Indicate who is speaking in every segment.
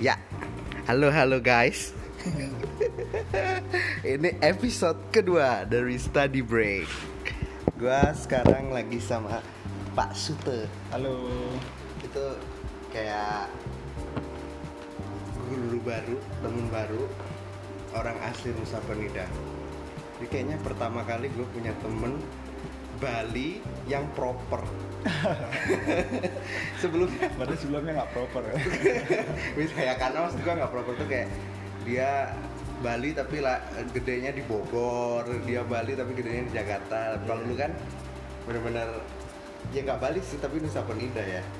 Speaker 1: Ya. Halo halo guys. Ini episode kedua dari Study Break. Gua sekarang lagi sama Pak Sute.
Speaker 2: Halo.
Speaker 1: Itu kayak guru baru, temen baru, orang asli Nusa Penida. Jadi kayaknya pertama kali gue punya temen Bali yang proper. Sebelumnya
Speaker 2: Padahal sebelumnya nggak proper ya.
Speaker 1: Wis kayak karena maksud gua nggak proper tuh kayak dia Bali tapi lah gedenya di Bogor, dia Bali tapi gedenya di Jakarta. Bang lu kan bener-bener ya nggak Bali sih tapi Nusa Penida ya.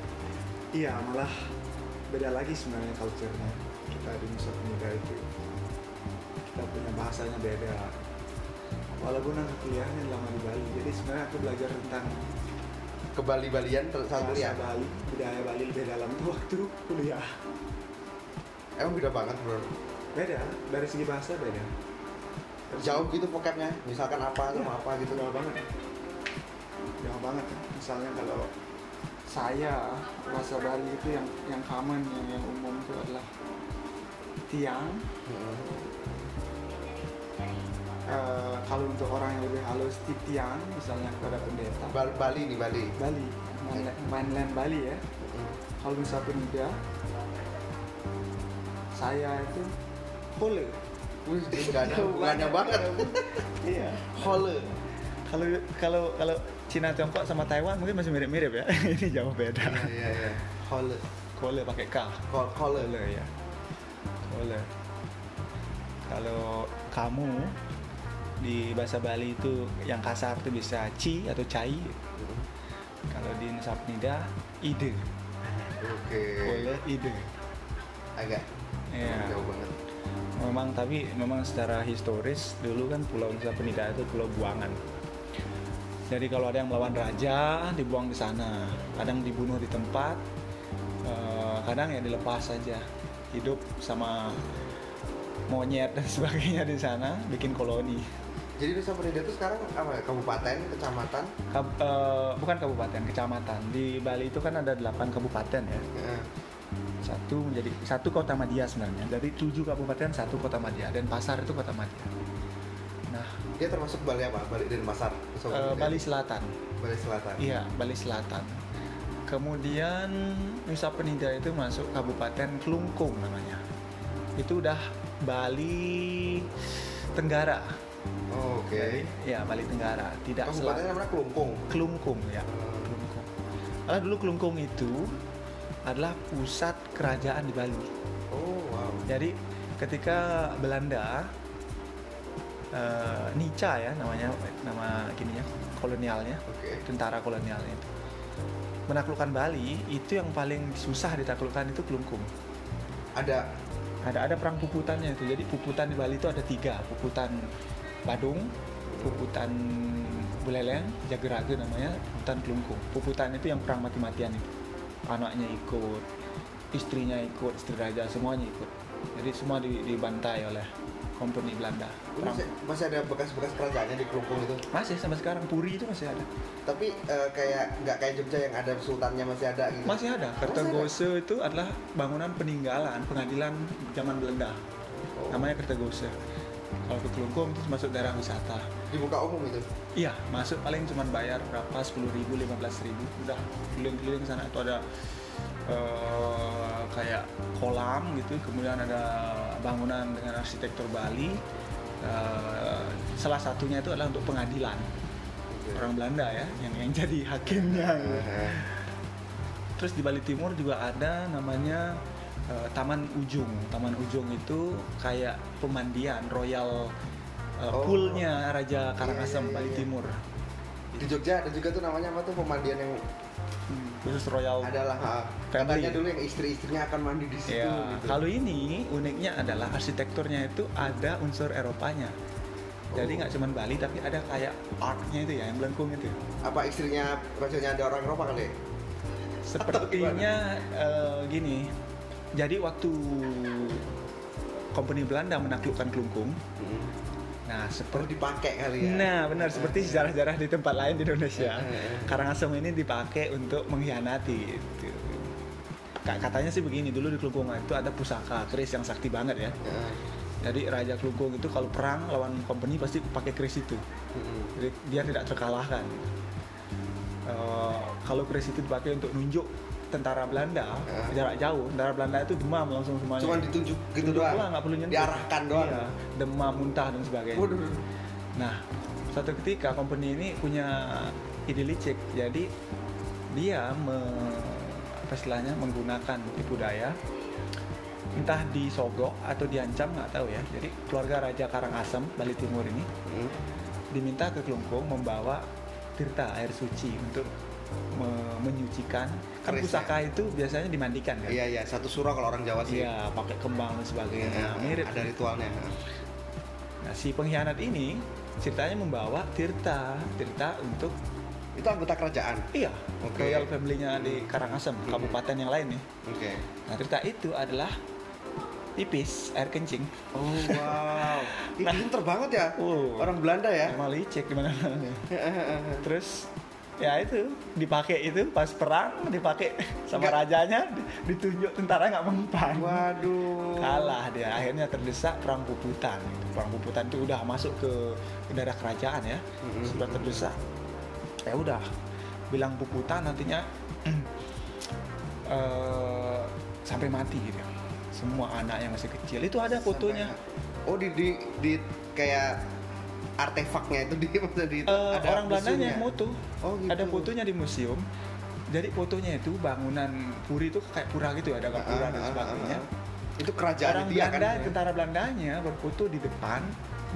Speaker 3: Iya, malah beda lagi sebenarnya culture-nya. Kita di Nusa Penida itu kita punya bahasanya beda. Walaupun aku kuliahnya lama di Bali, jadi sebenarnya aku belajar tentang
Speaker 1: Ke Bali-Balian ter-
Speaker 3: bahasa
Speaker 1: saat ya. kuliah.
Speaker 3: Bali, budaya Bali lebih dalam tuh waktu kuliah.
Speaker 1: Emang beda banget bro.
Speaker 3: Beda, dari segi bahasa beda. Terus-
Speaker 1: Jauh gitu vocabnya, misalkan apa sama apa gitu.
Speaker 3: itu jauh banget jauh banget misalnya kalau saya bahasa Bali itu yang yang common yang, yang umum itu adalah tiang
Speaker 1: Heeh.
Speaker 3: Eh, kalau untuk orang yang lebih halus titiang misalnya kepada pendeta
Speaker 1: Bal- Bali di Bali.
Speaker 3: Bali mainland, mainland Bali ya
Speaker 1: Heeh.
Speaker 3: kalau misal penida saya itu hole
Speaker 1: Wih, gak ada hubungannya banget.
Speaker 3: iya
Speaker 1: Hole.
Speaker 2: Kalau kalau kalau Cina Tiongkok sama Taiwan mungkin masih mirip-mirip ya. Ini jauh beda.
Speaker 1: Iya iya iya. Hole.
Speaker 2: Kole pakai K.
Speaker 1: Hol- Hole.
Speaker 2: Kole ya. Kole. Kalau kamu di bahasa Bali itu yang kasar itu bisa ci atau cai. Kalau di Nusa Penida ide.
Speaker 1: Oke.
Speaker 2: Kole ide.
Speaker 1: Agak
Speaker 2: Iya.
Speaker 1: jauh banget.
Speaker 2: Memang tapi memang secara historis dulu kan Pulau Nusa Penida itu pulau buangan. Jadi kalau ada yang melawan raja dibuang di sana, kadang dibunuh di tempat, eh, kadang ya dilepas saja, hidup sama monyet dan sebagainya di sana, bikin koloni.
Speaker 1: Jadi Nusa Penida itu sekarang apa ya? Kabupaten, kecamatan.
Speaker 2: Kab- eh, bukan kabupaten, kecamatan. Di Bali itu kan ada 8 kabupaten ya.
Speaker 1: Heeh.
Speaker 2: Satu menjadi satu kota madya sebenarnya. Dari 7 kabupaten satu kota madya dan pasar itu kota madya. Nah,
Speaker 1: Dia termasuk Bali apa? Bali Denpasar. Nusa
Speaker 2: eh,
Speaker 1: Penida.
Speaker 2: Bali Selatan.
Speaker 1: Bali Selatan.
Speaker 2: Iya, Bali Selatan. Kemudian Nusa Penida itu masuk Kabupaten Kelungkung namanya. Itu udah Bali Tenggara.
Speaker 1: Oh, Oke.
Speaker 2: Jadi, ya Bali Tenggara, tidak
Speaker 1: Kabupaten
Speaker 2: Selatan.
Speaker 1: namanya Kelungkung. Eh,
Speaker 2: Kelungkung ya. Kelungkung. Karena dulu Kelungkung itu adalah pusat kerajaan di Bali.
Speaker 1: Oh wow.
Speaker 2: Jadi ketika Belanda eh, Nica ya namanya nama gininya kolonialnya
Speaker 1: Oke.
Speaker 2: tentara kolonialnya itu menaklukkan Bali itu yang paling susah ditaklukkan itu Kelungkung
Speaker 1: Ada
Speaker 2: ada ada perang puputannya itu jadi puputan di Bali itu ada tiga puputan Badung puputan Buleleng Jagerage namanya puputan Kelungkung puputan itu yang perang mati-matian itu anaknya ikut istrinya ikut istri raja semuanya ikut jadi semua di- dibantai oleh kompeni Belanda
Speaker 1: Lu
Speaker 2: Perang-
Speaker 1: masih, masih ada bekas-bekas kerajaannya di Kelungkung itu.
Speaker 2: masih sampai sekarang Puri itu masih ada
Speaker 1: Tapi eh, kayak nggak kayak Jogja yang ada sultannya masih ada gitu.
Speaker 2: Masih ada. Kertegose itu adalah bangunan peninggalan pengadilan zaman Belanda.
Speaker 1: Oh.
Speaker 2: Namanya Kertegose. Kalau ke Kelungkung itu masuk daerah wisata.
Speaker 1: Dibuka umum itu.
Speaker 2: Iya, masuk paling cuma bayar berapa? 10.000, ribu, 15 ribu. Udah keliling-keliling sana itu ada eh, kayak kolam gitu. Kemudian ada bangunan dengan arsitektur Bali. Eh, salah satunya itu adalah untuk pengadilan
Speaker 1: Oke.
Speaker 2: orang Belanda ya, yang yang jadi hakimnya. gitu.
Speaker 1: Heeh.
Speaker 2: Terus di Bali Timur juga ada namanya eh, Taman Ujung. Taman Ujung itu kayak pemandian royal eh,
Speaker 1: Oh.
Speaker 2: poolnya
Speaker 1: Iya,
Speaker 2: Raja Karangasem
Speaker 1: iya,
Speaker 2: Bali
Speaker 1: iya.
Speaker 2: Timur.
Speaker 1: Di Jogja ada juga tuh namanya apa tuh pemandian yang Hmm.
Speaker 2: Khusus royal.
Speaker 1: adalah ah,
Speaker 2: Oh, Family.
Speaker 1: katanya dulu yang istri-istrinya akan mandi di situ
Speaker 2: Ya,
Speaker 1: gitu.
Speaker 2: kalau ini uniknya adalah arsitekturnya itu ada unsur Eropanya. Jadi
Speaker 1: Oh.
Speaker 2: nggak cuman Bali tapi ada kayak artnya itu ya yang melengkung itu.
Speaker 1: apa istrinya rajanya ada orang Eropa kali ya?
Speaker 2: Sepertinya eh, gini. Jadi waktu company Belanda menaklukkan Kelungkung, nah
Speaker 1: perlu
Speaker 2: seperti
Speaker 1: dipakai kali ya
Speaker 2: Nah, benar seperti sejarah-sejarah di tempat lain di Indonesia.
Speaker 1: Eh, eh, eh.
Speaker 2: Karangasem ini dipakai untuk mengkhianati gitu. ka- katanya sih begini dulu di Kelungkungan itu ada pusaka keris yang sakti banget ya
Speaker 1: Heeh.
Speaker 2: jadi Raja Kelungkung itu kalau perang lawan company pasti pakai keris itu
Speaker 1: Mm-mm.
Speaker 2: jadi dia tidak terkalahkan Eh, kalau keris itu dipakai untuk nunjuk tentara Belanda
Speaker 1: Ah.
Speaker 2: jarak jauh tentara Belanda itu demam langsung semuanya
Speaker 1: Cuman ditunjuk gitu
Speaker 2: Tunjuk
Speaker 1: doang.
Speaker 2: nggak perlu nyentuh.
Speaker 1: Diarahkan doang.
Speaker 2: Iya, demam muntah dan sebagainya
Speaker 1: Waduh.
Speaker 2: nah suatu ketika company ini punya ide licik jadi dia me- apa istilahnya menggunakan tipu daya entah disogok atau diancam nggak tahu ya jadi keluarga Raja Karangasem Bali Timur ini
Speaker 1: Mm.
Speaker 2: diminta ke Kelungkung membawa tirta air suci untuk me- menyucikan kan
Speaker 1: Kerisnya.
Speaker 2: pusaka itu biasanya dimandikan kan
Speaker 1: Iya iya satu surau kalau orang Jawa sih.
Speaker 2: Iya, pakai kembang dan sebagainya
Speaker 1: Iya,
Speaker 2: mirip
Speaker 1: Ada ritualnya. Heeh.
Speaker 2: nah, si pengkhianat ini ceritanya membawa tirta tirta untuk
Speaker 1: Itu anggota kerajaan.
Speaker 2: iya
Speaker 1: Oke. Iya.
Speaker 2: royal family-nya di Karangasem kabupaten yang lain nih
Speaker 1: Oke.
Speaker 2: nah tirta itu adalah pipis air kencing
Speaker 1: Oh wow. Ini pinter banget ya.
Speaker 2: Nah. Oh.
Speaker 1: Orang Belanda ya.
Speaker 2: malah licik di mana terus ya itu dipakai itu pas perang dipakai sama
Speaker 1: Nggak.
Speaker 2: rajanya ditunjuk tentara nggak mempan
Speaker 1: Waduh.
Speaker 2: kalah dia akhirnya terdesak perang puputan perang puputan itu udah masuk ke daerah kerajaan ya
Speaker 1: Mhm.
Speaker 2: sudah terdesak ya udah bilang puputan nantinya eh, sampai mati gitu semua anak yang masih kecil itu ada fotonya
Speaker 1: Sampai- Oh di di, di kayak artefaknya itu di maksudnya di
Speaker 2: Eh, orang Belandanya
Speaker 1: musuhnya.
Speaker 2: yang moto
Speaker 1: Oh, gitu.
Speaker 2: ada fotonya di museum jadi fotonya itu bangunan puri itu kayak pura gitu ya ada
Speaker 1: Ah,
Speaker 2: gapura dan
Speaker 1: ah, ah,
Speaker 2: sebagainya
Speaker 1: ah. Itu kerajaan
Speaker 2: orang
Speaker 1: dia
Speaker 2: Belanda,
Speaker 1: kan.
Speaker 2: tentara Belandanya berfoto di depan.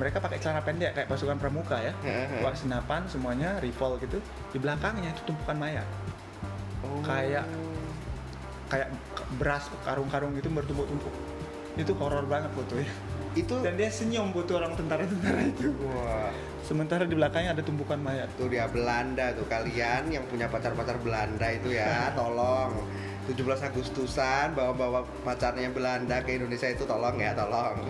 Speaker 2: Mereka pakai celana pendek kayak pasukan pramuka ya.
Speaker 1: Hehehe.
Speaker 2: Bawa senapan semuanya rifle gitu. Di belakangnya itu tumpukan mayat.
Speaker 1: Oh.
Speaker 2: kayak- Kayak beras karung-karung gitu bertumpuk-tumpuk. Itu horor banget fotonya.
Speaker 1: itu
Speaker 2: Dan dia senyum foto orang tentara-tentara itu.
Speaker 1: wah
Speaker 2: Sementara di belakangnya ada tumpukan mayat.
Speaker 1: tuh dia Belanda tuh kalian yang punya pacar-pacar Belanda itu ya tolong 17 Agustusan bawa-bawa pacarnya Belanda ke Indonesia itu tolong ya tolong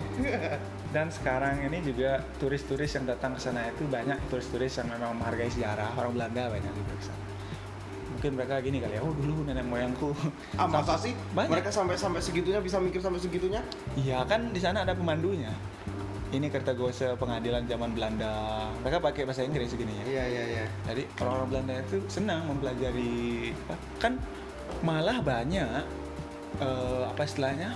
Speaker 2: Dan sekarang ini juga turis-turis yang datang ke sana itu banyak turis-turis yang memang menghargai sejarah orang Belanda banyak juga ke sana. Mungkin mereka gini kali ya, oh dulu nenek moyangku.
Speaker 1: ah masa
Speaker 2: Sampai-
Speaker 1: sih
Speaker 2: Banyak.
Speaker 1: mereka sampai sampai segitunya bisa mikir sampai segitunya
Speaker 2: Iya kan di sana ada pemandunya. Ini Kertagose pengadilan zaman Belanda. Mereka pakai bahasa Inggris gini ya.
Speaker 1: iya iya iya
Speaker 2: Jadi orang-orang Belanda itu senang mempelajari apa? kan malah banyak eh, apa istilahnya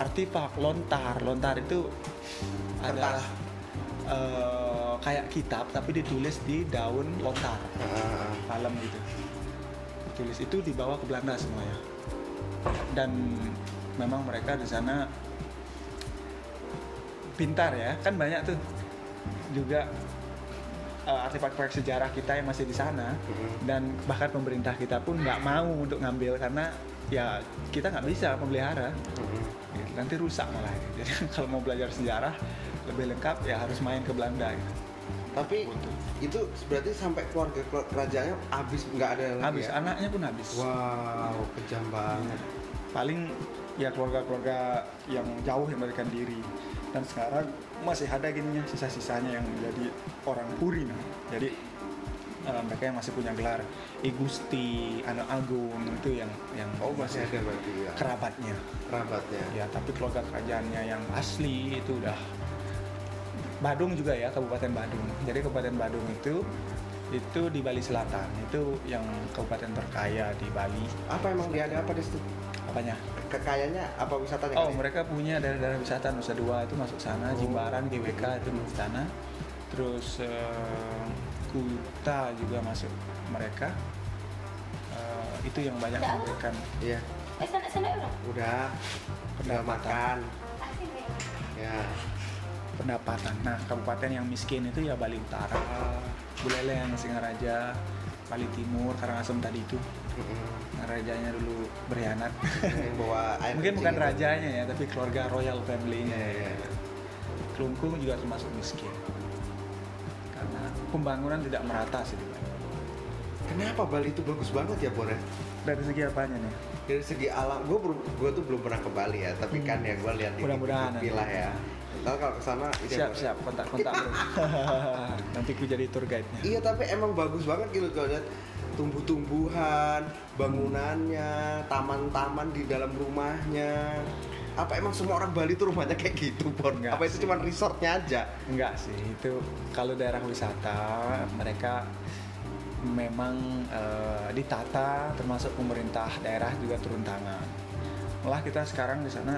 Speaker 2: artefak lontar. Lontar itu adalah eh, kayak kitab tapi ditulis di daun lontar
Speaker 1: Ah,
Speaker 2: malam gitu tulis itu dibawa ke Belanda semuanya dan memang mereka di sana pintar ya kan banyak tuh juga eh, artefak-artefak sejarah kita yang masih di sana
Speaker 1: Mhm.
Speaker 2: dan bahkan pemerintah kita pun nggak mau untuk ngambil karena ya kita nggak bisa memelihara
Speaker 1: Mm-mm.
Speaker 2: Gitu, nanti rusak malah jadi kalau mau belajar sejarah lebih lengkap ya harus main ke Belanda gitu.
Speaker 1: tapi itu berarti sampai keluarga keluar- kerajaannya habis nggak ada lagi
Speaker 2: habis
Speaker 1: ya?
Speaker 2: anaknya pun habis
Speaker 1: wow kejam banget
Speaker 2: paling ya keluarga-keluarga yang jauh yang melarikan diri dan sekarang masih ada gininya sisa-sisanya yang menjadi orang puri nah. jadi eh, mereka yang masih punya gelar Igusti, Anak Agung itu yang yang
Speaker 1: oh masih ada berarti ya
Speaker 2: kerabatnya
Speaker 1: kerabatnya
Speaker 2: ya tapi keluarga kerajaannya yang asli itu udah Badung juga ya Kabupaten Badung jadi Kabupaten Badung itu itu di Bali Selatan itu yang kabupaten terkaya di Bali
Speaker 1: apa emang dia ada apa di situ
Speaker 2: apanya
Speaker 1: kekayaannya apa wisatanya
Speaker 2: Oh,
Speaker 1: kali?
Speaker 2: mereka punya daerah-daerah wisata Nusa Dua itu masuk sana,
Speaker 1: Oh.
Speaker 2: Jimbaran, GWK itu masuk sana. Terus eh, Kuta juga masuk mereka. Eh, itu yang banyak
Speaker 4: Udah.
Speaker 2: memberikan
Speaker 1: iya
Speaker 4: Es anak sana orang.
Speaker 1: udah udah makan
Speaker 4: Asing ni.
Speaker 1: ya
Speaker 2: pendapatan. Nah, kabupaten yang miskin itu ya Bali Utara, Buleleng, Singaraja, Bali Timur, Karangasem tadi itu.
Speaker 1: Mm-mm.
Speaker 2: Nah, rajanya dulu berkhianat.
Speaker 1: Yang bawa air gitu.
Speaker 2: Mungkin
Speaker 1: kencing
Speaker 2: bukan
Speaker 1: itu.
Speaker 2: rajanya ya, tapi keluarga royal family-nya.
Speaker 1: Iya, iya, iya.
Speaker 2: Kelungkung juga termasuk miskin karena pembangunan tidak merata sih
Speaker 1: kenapa Bali itu bagus banget ya Bor ya?
Speaker 2: dari segi apanya nih
Speaker 1: dari segi alam gue gue tuh belum pernah ke Bali ya tapi kan ya gue lihat di
Speaker 2: Hmm. Mudah-mudahan
Speaker 1: TV lah ya Ntar kalau kesana iya,
Speaker 2: siap
Speaker 1: Bor.
Speaker 2: siap kontak kontak bro nanti ku jadi tour guide nya
Speaker 1: Iya tapi emang bagus banget gitu kalau lihat tumbuh-tumbuhan, bangunannya, taman-taman di dalam rumahnya. Apa emang semua orang Bali tuh rumahnya kayak gitu, Bon?
Speaker 2: Enggak
Speaker 1: Apa itu
Speaker 2: sih.
Speaker 1: cuma resortnya aja?
Speaker 2: Enggak sih, itu kalau daerah wisata mereka memang eh, ditata termasuk pemerintah daerah juga turun tangan. Malah kita sekarang di sana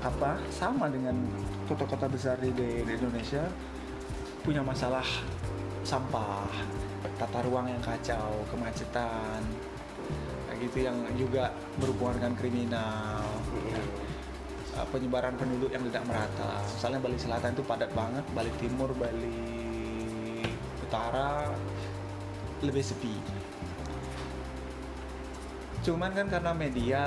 Speaker 2: apa sama dengan kota-kota besar di, di Indonesia punya masalah sampah, tata ruang yang kacau, kemacetan, kayak gitu yang juga berhubungan dengan kriminal uh, penyebaran penduduk yang tidak merata. Misalnya Bali Selatan itu padat banget, Bali Timur, Bali Utara lebih sepi. Cuman kan karena media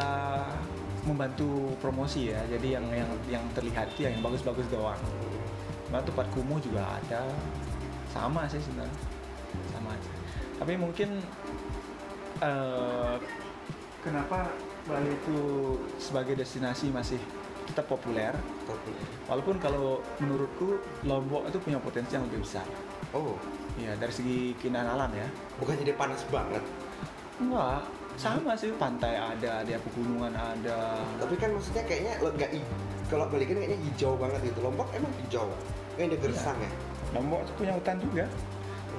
Speaker 2: membantu promosi ya, jadi yang yang yang terlihat ya yang bagus-bagus doang. Nah, tempat kumuh juga ada. Sama sih sebenarnya. Sama aja. Tapi mungkin eh, kenapa Bali itu sebagai destinasi masih tetap populer? Walaupun kalau menurutku Lombok itu punya potensi yang lebih besar.
Speaker 1: Oh,
Speaker 2: Iya, dari segi keindahan alam ya.
Speaker 1: bukannya dia panas banget.
Speaker 2: Enggak, sama sih pantai ada, dia pegunungan ada.
Speaker 1: Tapi kan maksudnya kayaknya lo nggak i- kalau balikin kan kayaknya hijau banget gitu. Lombok emang hijau. Kayak
Speaker 2: Iya,
Speaker 1: ada gersang ya.
Speaker 2: Lombok itu punya hutan juga.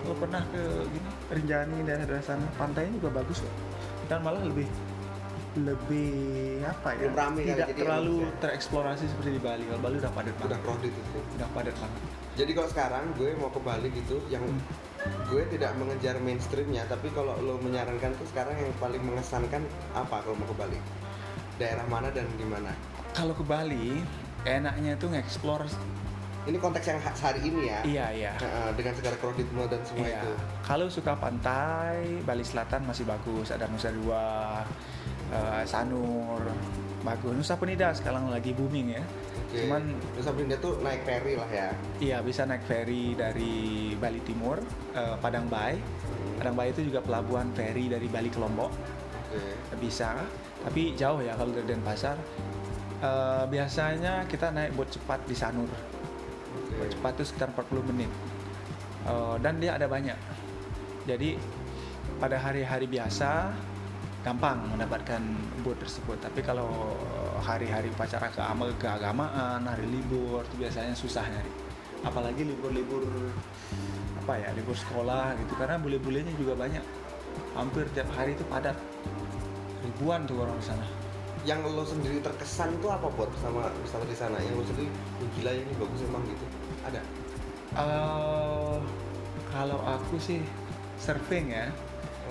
Speaker 2: Lo pernah ke gini Rinjani daerah-daerah sana, pantainya juga bagus loh. Dan malah lebih lebih apa ya?
Speaker 1: Belum rame kali,
Speaker 2: tidak
Speaker 1: jadi
Speaker 2: terlalu
Speaker 1: bagus ya.
Speaker 2: tereksplorasi seperti di Bali. Kalau Bali udah padat
Speaker 1: Udah
Speaker 2: banget.
Speaker 1: crowded itu.
Speaker 2: Udah padat banget.
Speaker 1: Jadi kalau sekarang gue mau ke Bali gitu, yang
Speaker 2: Hmm.
Speaker 1: gue tidak mengejar mainstreamnya, tapi kalau lo menyarankan tuh sekarang yang paling mengesankan apa kalau mau ke Bali? Daerah mana dan di mana?
Speaker 2: Kalau ke Bali, enaknya itu nge-explore
Speaker 1: Ini konteks yang ha- sehari ini ya.
Speaker 2: iya iya.
Speaker 1: Nah, dengan segala crowdednya dan semua
Speaker 2: Iya.
Speaker 1: itu.
Speaker 2: Kalau suka pantai, Bali Selatan masih bagus. Ada Nusa Dua, eh, Sanur, bagus. Nusa Penida sekarang lagi booming ya.
Speaker 1: Oke.
Speaker 2: Cuman
Speaker 1: terus Samarinda tuh naik ferry lah ya.
Speaker 2: iya bisa naik ferry dari Bali Timur, eh, Padang Bay. Padang Bay itu juga pelabuhan ferry dari Bali ke Lombok.
Speaker 1: Oke.
Speaker 2: Bisa, tapi jauh ya kalau dari Denpasar. Eh, biasanya kita naik boat cepat di Sanur.
Speaker 1: Oke.
Speaker 2: cepat itu sekitar 40 menit Eh, dan dia ada banyak jadi pada hari-hari biasa gampang mendapatkan boot tersebut tapi kalau hari-hari upacara keama- keagamaan hari libur itu biasanya susah nyari apalagi libur-libur apa ya libur sekolah gitu karena bule-bulenya juga banyak hampir tiap hari itu padat ribuan tuh orang di sana
Speaker 1: Yang lo sendiri terkesan tuh apa buat sama wisata di sana? Yang lo sendiri "Oh, gila ini bagus emang gitu. Ada.
Speaker 2: Eh, kalau aku sih surfing ya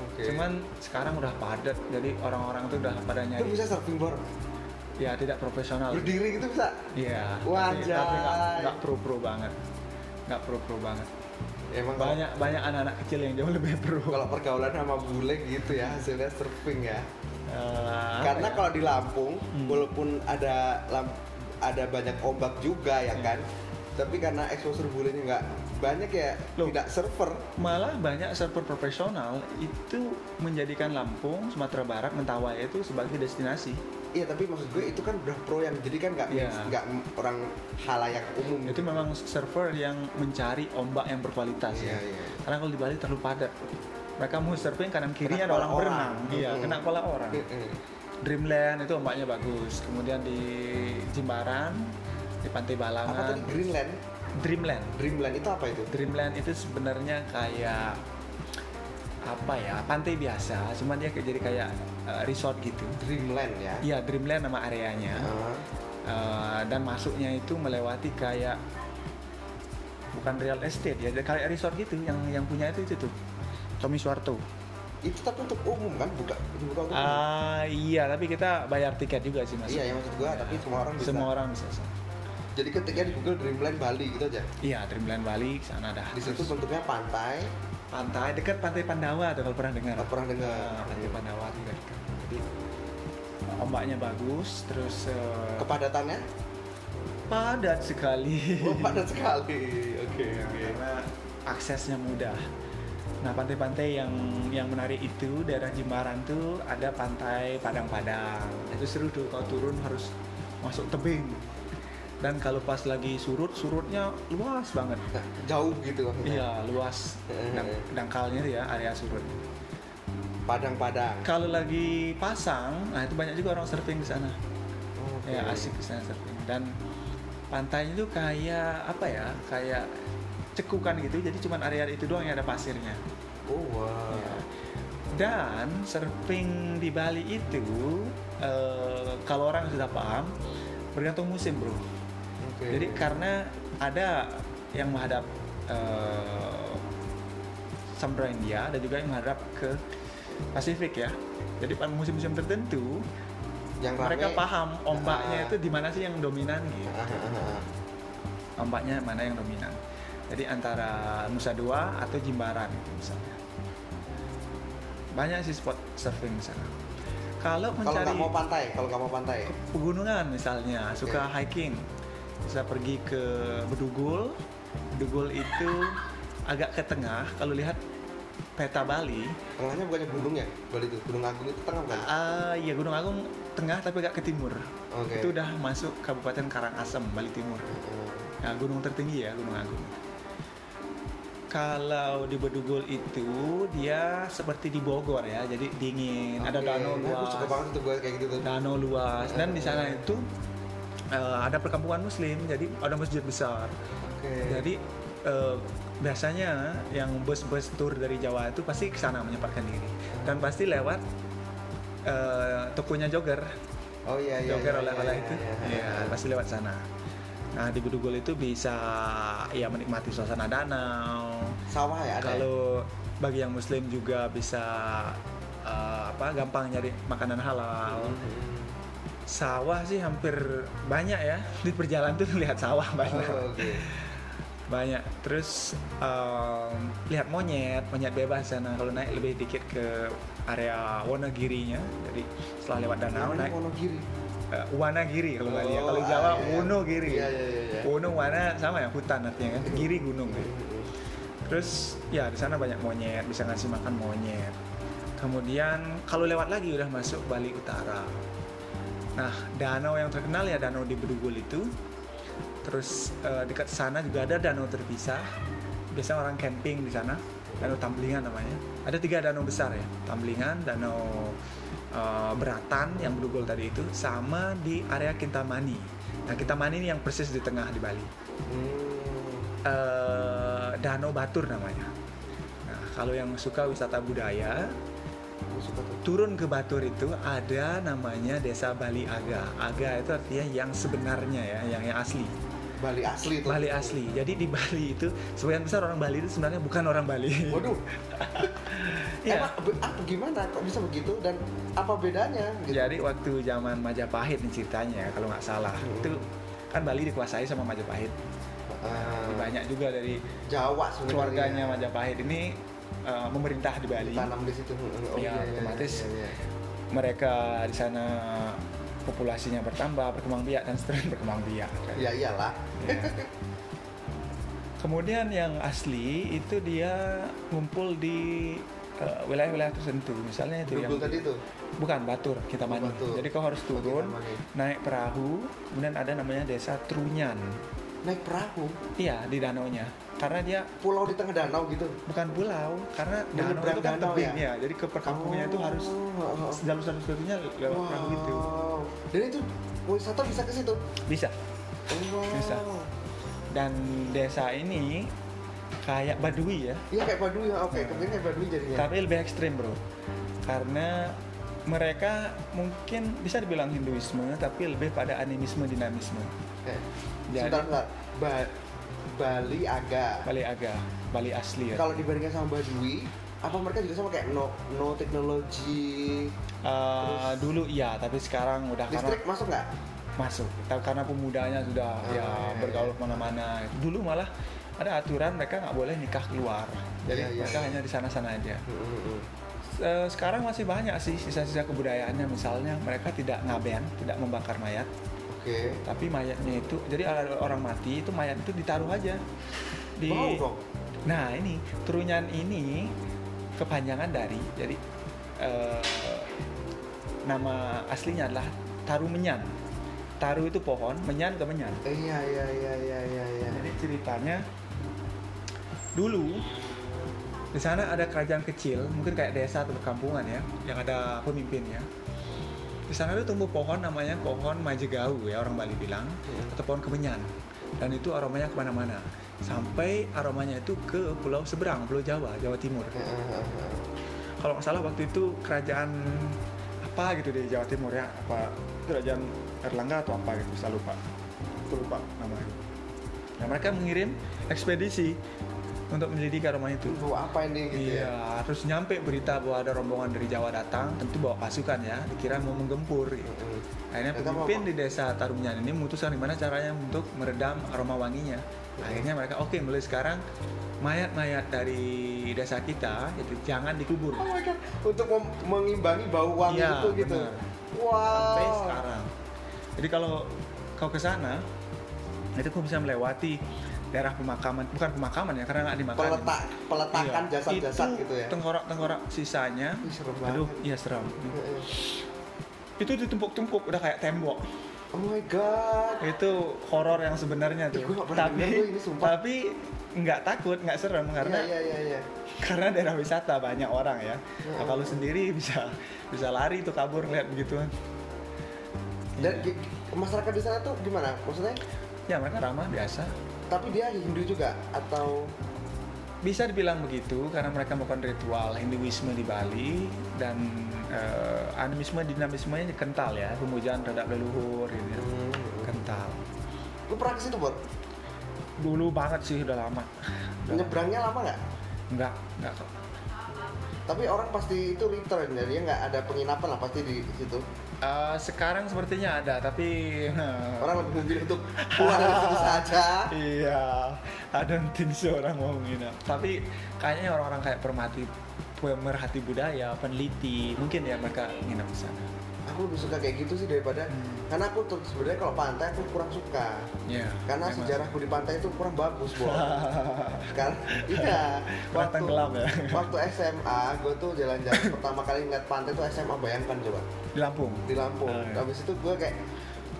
Speaker 1: Oke.
Speaker 2: Cuman sekarang udah padat, jadi orang-orang tuh udah pada
Speaker 1: itu
Speaker 2: nyari.
Speaker 1: bisa surfing board
Speaker 2: Ya tidak profesional.
Speaker 1: berdiri gitu bisa.
Speaker 2: Iya. tapi-
Speaker 1: Wajay.
Speaker 2: Tapi nggak- nggak pro-pro banget. Nggak pro-pro banget.
Speaker 1: Emang kalau-
Speaker 2: Banyak banyak anak-anak kecil yang jauh lebih pro.
Speaker 1: kalau pergaulan sama bule gitu ya hasilnya surfing ya
Speaker 2: Eh,
Speaker 1: karena
Speaker 2: apa ya?
Speaker 1: kalau di Lampung
Speaker 2: Hmm.
Speaker 1: walaupun ada lam- ada banyak ombak juga ya
Speaker 2: Iya.
Speaker 1: kan tapi karena exposure bulenya nggak banyak ya
Speaker 2: Loh.
Speaker 1: tidak server
Speaker 2: malah banyak server profesional itu menjadikan Lampung, Sumatera Barat, Mentawai itu sebagai destinasi.
Speaker 1: iya tapi maksud gue itu kan udah pro yang jadi kan nggak
Speaker 2: Iya.
Speaker 1: nggak orang halayak umum
Speaker 2: Itu memang server yang mencari ombak yang berkualitas
Speaker 1: Iya,
Speaker 2: ya.
Speaker 1: iya.
Speaker 2: Karena kalau di Bali terlalu padat. Mereka mau surfing kanan kiri
Speaker 1: Kena
Speaker 2: ada orang
Speaker 1: kepala
Speaker 2: berenang.
Speaker 1: orang. Hmm.
Speaker 2: Iya,
Speaker 1: Mm-mm.
Speaker 2: kena kepala orang.
Speaker 1: Mm-mm.
Speaker 2: Dreamland itu ombaknya bagus. Kemudian di Jimbaran, di Pantai
Speaker 1: apa
Speaker 2: Balangan,
Speaker 1: tadi Greenland
Speaker 2: Dreamland.
Speaker 1: Dreamland itu apa itu
Speaker 2: Dreamland itu sebenarnya kayak apa ya? Pantai biasa, cuman dia kayak- jadi kayak eh, resort gitu.
Speaker 1: Dreamland ya
Speaker 2: Iya, Dreamland nama areanya.
Speaker 1: Ah.
Speaker 2: Eh, dan masuknya itu melewati kayak bukan real estate ya, kayak resort gitu yang yang punya itu itu tuh. Tommy Suwarto.
Speaker 1: Oh. itu tapi untuk umum kan buka dibuka untuk umum.
Speaker 2: Ah iya, tapi kita bayar tiket juga sih Mas.
Speaker 1: iya yang maksud gue tapi semua orang bisa
Speaker 2: Semua orang bisa. sih.
Speaker 1: jadi ketika di Google Dreamland Bali gitu aja
Speaker 2: Iya, Dreamland Bali sana dah.
Speaker 1: di situ
Speaker 2: Terus
Speaker 1: bentuknya pantai
Speaker 2: pantai dekat Pantai Pandawa tuh kalau pernah dengar.
Speaker 1: Oh, pernah dengar.
Speaker 2: Ah, pantai Pandawa tuh udah dekat. Jadi ombaknya bagus, terus eh,
Speaker 1: kepadatannya
Speaker 2: padat sekali.
Speaker 1: oh, padat sekali oke oke
Speaker 2: Karena aksesnya mudah. Nah, pantai-pantai yang yang menarik itu daerah Jimbaran tuh ada pantai Padang-Padang. Itu seru tuh kalau turun harus masuk tebing. dan kalau pas lagi surut surutnya luas banget
Speaker 1: jauh gitu maksudnya.
Speaker 2: iya luas Dang- dangkalnya tuh ya area surut
Speaker 1: Padang-padang.
Speaker 2: kalau lagi pasang nah itu banyak juga orang surfing di sana
Speaker 1: Oke.
Speaker 2: ya asik di sana surfing dan pantainya tuh kayak apa ya kayak cekukan gitu jadi cuman area itu doang yang ada pasirnya
Speaker 1: Oh wow.
Speaker 2: Ya. Dan surfing di Bali itu eh, kalau orang sudah paham bergantung musim bro.
Speaker 1: Oke.
Speaker 2: Jadi karena ada yang menghadap eh, Samudra India dan juga yang menghadap ke Pasifik ya. Jadi pada musim-musim tertentu
Speaker 1: yang
Speaker 2: mereka
Speaker 1: rame-
Speaker 2: paham
Speaker 1: Ah.
Speaker 2: ombaknya itu di mana sih yang dominan gitu.
Speaker 1: Ah, ah, ah, ah.
Speaker 2: Ombaknya mana yang dominan. Jadi antara Nusa Dua atau Jimbaran gitu misalnya. Banyak sih spot surfing di sana.
Speaker 1: Kalau
Speaker 2: Kalau mencari
Speaker 1: nggak mau pantai, kalau nggak mau pantai.
Speaker 2: pegunungan misalnya, suka hiking, bisa pergi ke Bedugul. Bedugul itu agak ke tengah. Kalau lihat peta Bali,
Speaker 1: Tengahnya bukannya gunung ya? Bali itu Gunung Agung itu tengah bukan?
Speaker 2: ah, ya Gunung Agung tengah tapi agak ke timur.
Speaker 1: Oke.
Speaker 2: Itu udah masuk Kabupaten Karangasem, Bali Timur.
Speaker 1: Hmm.
Speaker 2: Nah, gunung tertinggi ya, Gunung Agung. Kalau di Bedugul itu dia seperti di Bogor ya, jadi dingin, ada
Speaker 1: Oke.
Speaker 2: danau
Speaker 1: Nah, Aku
Speaker 2: luas,
Speaker 1: suka banget tuh gua kayak gitu tuh.
Speaker 2: danau luas, dan di sana itu eh, ada perkampungan Muslim, jadi ada masjid besar.
Speaker 1: Oke.
Speaker 2: Jadi eh, biasanya yang bus-bus tour dari Jawa itu pasti ke sana menyempatkan diri, dan pasti lewat eh, tokonya jogger
Speaker 1: Oh iya iya.
Speaker 2: jogger
Speaker 1: iya,
Speaker 2: oleh-oleh
Speaker 1: iya,
Speaker 2: itu
Speaker 1: iya, iya.
Speaker 2: ya pasti lewat sana nah di Bedugul itu bisa ya menikmati suasana danau
Speaker 1: Sawah ya ada. ya?
Speaker 2: kalau bagi yang muslim juga bisa eh, apa gampang nyari makanan
Speaker 1: Oh,
Speaker 2: halal sawah sih hampir banyak ya di perjalanan tuh lihat sawah banyak
Speaker 1: Oh, Oke.
Speaker 2: banyak terus em, lihat monyet monyet bebas sana kalau naik lebih dikit ke area Wonogirinya jadi setelah lewat danau
Speaker 1: Namanya
Speaker 2: naik
Speaker 1: Wonogiri.
Speaker 2: Eh, wana giri kalau Bali ya.
Speaker 1: Oh,
Speaker 2: Kalau
Speaker 1: ah,
Speaker 2: Jawa
Speaker 1: iya, iya.
Speaker 2: wono giri.
Speaker 1: Iya, iya, iya, iya.
Speaker 2: Wono wana sama ya hutan artinya kan. Giri gunung. Terus ya di sana banyak monyet, bisa ngasih makan monyet. Kemudian kalau lewat lagi udah masuk Bali Utara. Nah, danau yang terkenal ya danau di Bedugul itu. Terus eh, dekat sana juga ada danau terpisah. Biasanya orang camping di sana. Danau Tamblingan namanya. Ada tiga danau besar ya. Tamblingan, danau eh, Beratan yang Bedugul tadi itu, sama di area Kintamani. Nah, Kintamani ini yang persis di tengah di Bali.
Speaker 1: Hmm.
Speaker 2: Eh, danau Batur namanya. Nah, kalau yang suka wisata budaya,
Speaker 1: Aku suka tuh.
Speaker 2: turun ke Batur itu ada namanya Desa Bali Aga. Aga itu artinya yang sebenarnya ya, yang yang asli.
Speaker 1: Bali asli tuh.
Speaker 2: Bali asli. Jadi di Bali itu sebagian besar orang Bali itu sebenarnya bukan orang Bali.
Speaker 1: Waduh.
Speaker 2: Iya.
Speaker 1: Emang be- apa gimana kok bisa begitu dan apa bedanya gitu?
Speaker 2: Jadi waktu zaman Majapahit nih ceritanya kalau nggak salah
Speaker 1: Hmm.
Speaker 2: itu kan Bali dikuasai sama Majapahit.
Speaker 1: Ah,
Speaker 2: Banyak juga dari
Speaker 1: Jawa sebenarnya.
Speaker 2: keluarganya
Speaker 1: iya.
Speaker 2: Majapahit ini eh, memerintah di Bali.
Speaker 1: tanam di situ. Oh,
Speaker 2: Iya, otomatis. mereka di sana populasinya bertambah, berkembang biak dan seterusnya berkembang biak. kan?
Speaker 1: Ya iyalah.
Speaker 2: Ya. Kemudian yang asli itu dia ngumpul di eh, wilayah-wilayah tertentu, misalnya itu
Speaker 1: Dugul
Speaker 2: yang
Speaker 1: tadi tuh.
Speaker 2: bukan Batur kita
Speaker 1: Oh,
Speaker 2: mandi.
Speaker 1: Batur.
Speaker 2: Jadi kau harus
Speaker 1: Oh,
Speaker 2: turun,
Speaker 1: Kintamani.
Speaker 2: naik perahu, kemudian ada namanya desa Trunyan.
Speaker 1: Naik perahu,
Speaker 2: Iya di danaunya, karena dia
Speaker 1: pulau di tengah danau gitu.
Speaker 2: bukan pulau, karena danau
Speaker 1: Menyeberang
Speaker 2: itu kan
Speaker 1: danau
Speaker 2: tebing
Speaker 1: ya?
Speaker 2: ya. Jadi ke perkampungannya itu
Speaker 1: Oh,
Speaker 2: harus
Speaker 1: oh, oh.
Speaker 2: jalur satu-satunya lewat perahu gitu.
Speaker 1: Wow. Dan itu wisata bisa ke situ.
Speaker 2: Bisa.
Speaker 1: Oh, wow.
Speaker 2: Bisa. dan desa ini kayak Badui ya,
Speaker 1: Iya kayak Baduy ya.
Speaker 2: Nah.
Speaker 1: Oke, kemarin kayak Baduy jadinya.
Speaker 2: tapi lebih ekstrim bro, karena mereka mungkin bisa dibilang Hinduisme tapi lebih pada animisme dinamisme
Speaker 1: Eh,
Speaker 2: Jadi-
Speaker 1: Sebentar, sebentar. Ba- Bali agak.
Speaker 2: Bali agak Bali asli ya.
Speaker 1: Kalau dibandingkan sama Baduy, apa mereka juga sama kayak no no teknologi
Speaker 2: Eh, dulu iya tapi sekarang udah
Speaker 1: listrik masuk nggak?
Speaker 2: karena masuk, Ta- karena pemudanya sudah
Speaker 1: Ah,
Speaker 2: ya
Speaker 1: iya, iya.
Speaker 2: bergaul kemana-mana. Dulu malah ada aturan mereka nggak boleh nikah keluar, jadi
Speaker 1: Iya, iya,
Speaker 2: mereka
Speaker 1: iya.
Speaker 2: hanya di sana-sana aja.
Speaker 1: Hmm, hmm, hmm.
Speaker 2: Eh, sekarang masih banyak sih sisa-sisa kebudayaannya misalnya mereka tidak ngaben tidak membakar mayat
Speaker 1: Oke.
Speaker 2: tapi mayatnya itu jadi ada orang mati itu mayat itu ditaruh aja di
Speaker 1: Bau dong.
Speaker 2: nah ini turunyan ini kepanjangan dari jadi eh, nama aslinya adalah Tarumenyan taruh itu pohon menyan ke menyan
Speaker 1: iya iya iya iya iya iya
Speaker 2: jadi ceritanya dulu di sana ada kerajaan kecil mungkin kayak desa atau perkampungan ya yang ada pemimpinnya di sana itu tumbuh pohon namanya pohon majegau ya orang Bali bilang atau pohon kemenyan dan itu aromanya kemana-mana sampai aromanya itu ke pulau seberang pulau Jawa Jawa Timur kalau nggak salah waktu itu kerajaan apa gitu di Jawa Timur ya apa kerajaan Erlangga atau apa gitu saya lupa aku lupa namanya nah mereka mengirim ekspedisi untuk menyelidiki rumah itu
Speaker 1: itu apa ini gitu
Speaker 2: Iya, terus nyampe berita bahwa ada rombongan dari Jawa datang, tentu bawa pasukan ya, dikira mau menggempur.
Speaker 1: ya
Speaker 2: Gitu.
Speaker 1: Mm-mm.
Speaker 2: Akhirnya
Speaker 1: Tetap
Speaker 2: pemimpin
Speaker 1: apa?
Speaker 2: di desa Tarumnyan ini memutuskan gimana caranya untuk meredam aroma wanginya. Akhirnya mereka oke mulai sekarang mayat-mayat dari desa kita itu jangan dikubur.
Speaker 1: oh my god untuk mem- mengimbangi bau wangi
Speaker 2: Iya,
Speaker 1: itu gitu
Speaker 2: benar. sampai
Speaker 1: wow
Speaker 2: sekarang. Jadi kalau kau ke sana, itu kau bisa melewati daerah pemakaman, bukan pemakaman ya, karena nggak dimakan.
Speaker 1: peletak peletakan
Speaker 2: Iya.
Speaker 1: jasad-jasad
Speaker 2: Itu
Speaker 1: gitu ya
Speaker 2: Tengkorak-tengkorak sisanya.
Speaker 1: Ih, serem
Speaker 2: Aduh,
Speaker 1: banget.
Speaker 2: iya seram.
Speaker 1: Mm-mm.
Speaker 2: Itu ditumpuk-tumpuk udah kayak tembok.
Speaker 1: oh my god
Speaker 2: Itu horor yang
Speaker 1: Ih,
Speaker 2: sebenarnya tuh.
Speaker 1: gua nggak pernah
Speaker 2: Tapi
Speaker 1: denger loh ini, sumpah.
Speaker 2: tapi nggak takut, nggak serem karena
Speaker 1: iya iya iya
Speaker 2: karena daerah wisata banyak orang ya. Nah,
Speaker 1: Iya.
Speaker 2: kalau sendiri bisa bisa lari tuh kabur lihat begituan.
Speaker 1: dan
Speaker 2: Iya.
Speaker 1: gi- masyarakat di sana tuh gimana maksudnya
Speaker 2: ya mereka ramah biasa.
Speaker 1: tapi dia Hindu juga atau
Speaker 2: bisa dibilang begitu karena mereka melakukan ritual Hinduisme di Bali dan eh, animisme dinamismenya kental ya pemujaan terhadap leluhur gitu ya. kental
Speaker 1: lu pernah ke situ bor
Speaker 2: dulu banget sih udah lama Udah lama.
Speaker 1: nyebrangnya lama nggak
Speaker 2: nggak nggak kok.
Speaker 1: tapi orang pasti itu return jadi dia nggak ada penginapan lah pasti di situ
Speaker 2: Eh, sekarang sepertinya ada tapi
Speaker 1: orang lebih memilih untuk keluar dari situ saja
Speaker 2: iya I don't think so orang mau nginap tapi kayaknya orang-orang kayak permati pemerhati budaya peneliti mungkin ya mereka nginap di sana
Speaker 1: aku lebih suka kayak gitu sih daripada
Speaker 2: Hmm.
Speaker 1: karena aku tuh sebenarnya kalau pantai aku kurang suka
Speaker 2: ya
Speaker 1: Iya. karena
Speaker 2: memang.
Speaker 1: sejarahku di pantai itu kurang bagus bor kan iya
Speaker 2: Kurang tenggelam ya.
Speaker 1: waktu SMA gue tuh jalan-jalan pertama kali ngeliat pantai tuh SMA bayangkan coba
Speaker 2: di Lampung
Speaker 1: di Lampung
Speaker 2: Ah, iya.
Speaker 1: habis itu gue kayak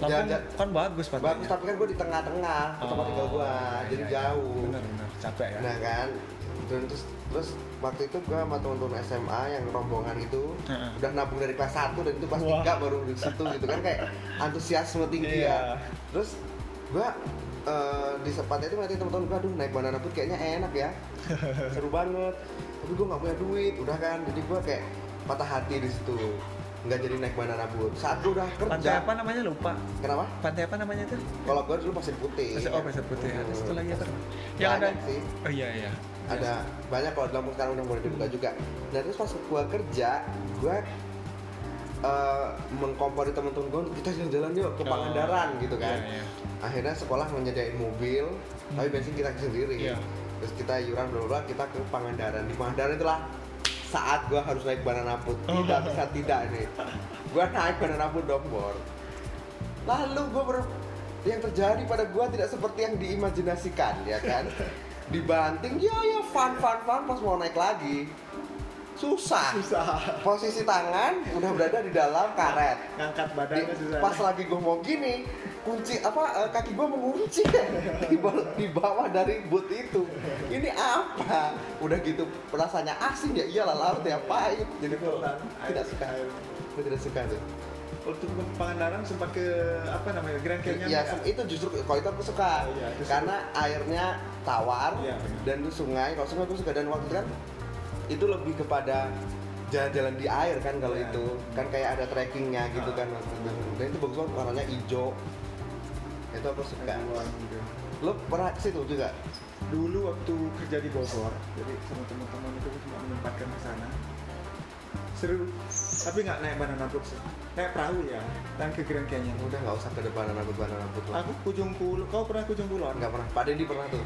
Speaker 2: Lampung
Speaker 1: jalan-jalan-
Speaker 2: kan bagus pantainya.
Speaker 1: bagus tapi kan gue di tengah-tengah ke tempat tinggal gue
Speaker 2: iya,
Speaker 1: jadi
Speaker 2: iya.
Speaker 1: jauh
Speaker 2: Benar benar capek ya.
Speaker 1: nah kan dan terus terus waktu itu gue sama temen-temen SMA yang rombongan itu
Speaker 2: Heeh.
Speaker 1: udah nabung dari kelas 1 dan itu kelas
Speaker 2: Wah.
Speaker 1: 3 baru di situ gitu kan kayak antusiasme tinggi
Speaker 2: Iya.
Speaker 1: ya terus gue di sepatnya itu nanti temen-temen gue aduh naik banana boat kayaknya enak ya seru banget tapi gue nggak punya duit udah kan jadi gue kayak patah hati di situ nggak jadi naik banana boat saat gue udah
Speaker 2: Pantai
Speaker 1: kerja
Speaker 2: apa namanya lupa.
Speaker 1: kenapa
Speaker 2: Pantai apa namanya tuh?
Speaker 1: kalau gue dulu pasir putih
Speaker 2: Pasir oh pasir putih. Ada satu lagi apa? Yang ada.
Speaker 1: Banyak sih.
Speaker 2: Oh iya iya. Hmm.
Speaker 1: ada banyak kalau dalam sekarang udah mulai dibuka juga dan terus pas gua kerja gua eh, mengkompori teman-teman gua kita jalan-jalan yuk ke
Speaker 2: Oh,
Speaker 1: Pangandaran gitu kan
Speaker 2: iya, iya.
Speaker 1: akhirnya sekolah menyediain mobil tapi bensin kita sendiri
Speaker 2: Iya.
Speaker 1: terus kita iuran bla bla bla, kita ke Pangandaran di Pangandaran itulah saat gua harus naik banana boat
Speaker 2: Oh.
Speaker 1: tidak bisa tidak nih gua naik banana boat dong Bor. lalu gua ber- yang terjadi pada gua tidak seperti yang diimajinasikan ya kan dibanting ya ya fun fun fun pas mau naik lagi susah
Speaker 3: susah
Speaker 1: posisi tangan udah berada di dalam karet
Speaker 3: ngangkat
Speaker 1: di,
Speaker 3: badannya susah
Speaker 1: pas lagi gue mau gini kunci apa eh, kaki gue mengunci di, bal- di bawah dari boot itu ini apa udah gitu rasanya asin ya iyalah laut ya pahit jadi gue tidak suka gue tidak suka tuh
Speaker 3: waktu ke Pangandaran sempat ke apa namanya Grand Canyon
Speaker 1: Iya,
Speaker 3: nggak?
Speaker 1: sem- itu justru kalau itu aku suka
Speaker 3: Iya, itu
Speaker 1: karena airnya tawar
Speaker 3: Iya, benar.
Speaker 1: dan itu sungai. Kalau sungai aku suka dan waktu itu kan itu lebih kepada jalan-jalan di air kan kalau
Speaker 3: Iya. Ah.
Speaker 1: itu kan kayak ada trekkingnya gitu kan waktu itu. Dan itu bagus banget warnanya hijau. Itu aku suka.
Speaker 3: Taiwan gitu.
Speaker 1: Lo pernah ke situ juga?
Speaker 3: dulu waktu kerja di Bogor jadi sama teman-teman itu cuma menempatkan ke sana seru tapi nggak naik banana boat sih naik perahu ya dan ke Grand Canyon
Speaker 1: Udah nggak usah ke depan anak depan anak putra.
Speaker 3: aku Kujung Kulon kau pernah Kujung Kulon
Speaker 1: Nggak pernah. Pak Dendi pernah tuh.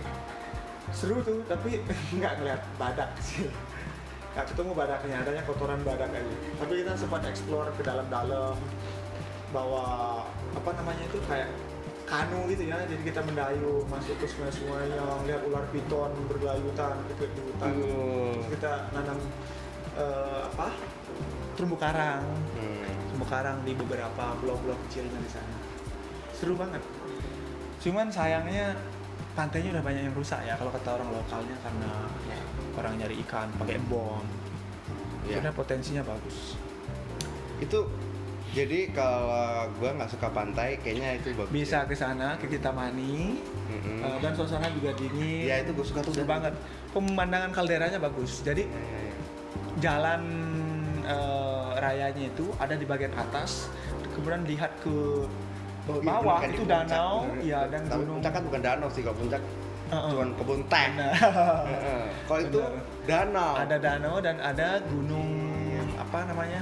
Speaker 3: seru tuh tapi nggak ngeliat badak sih nggak ketemu badaknya adanya kotoran badak aja tapi kita sempat explore ke dalam-dalam bawa apa namanya itu kayak kanu gitu ya jadi kita mendayung masuk ke sungai-sungai yang lihat ular piton bergelayutan ikut di hutan
Speaker 1: Hmm.
Speaker 3: Terus kita nanam eh, apa
Speaker 2: Terumbu karang.
Speaker 1: Hmm.
Speaker 2: Terumbu karang di beberapa pulau-pulau kecilnya di sana. seru banget cuman sayangnya pantainya udah banyak yang rusak ya kalau kata orang lokalnya karena ya, orang nyari ikan pakai bom
Speaker 1: Iya.
Speaker 2: karena potensinya bagus
Speaker 1: Itu jadi kalau gua nggak suka pantai, kayaknya itu bagus.
Speaker 2: bisa ke sana ke Kitamani
Speaker 1: Mm-mm.
Speaker 3: Ah.
Speaker 2: eh, dan suasana juga dingin
Speaker 1: Ya, Hmm. itu gua suka tuh.
Speaker 2: seru banget pemandangan kalderanya bagus jadi
Speaker 1: Ya, ya, ya.
Speaker 2: jalan eh, rayanya itu ada di bagian atas kemudian lihat ke
Speaker 1: Oh, iya,
Speaker 2: bawah
Speaker 1: bener, kan,
Speaker 2: itu
Speaker 1: di puncak,
Speaker 2: danau
Speaker 1: bener.
Speaker 2: ya dan
Speaker 1: Tapi
Speaker 2: gunung
Speaker 1: puncak kan bukan danau sih, kalau puncak
Speaker 2: Uh-uh.
Speaker 1: cuman kebun teh. Heeh. Kalau itu
Speaker 2: Bener.
Speaker 1: danau.
Speaker 2: ada danau dan ada gunung apa namanya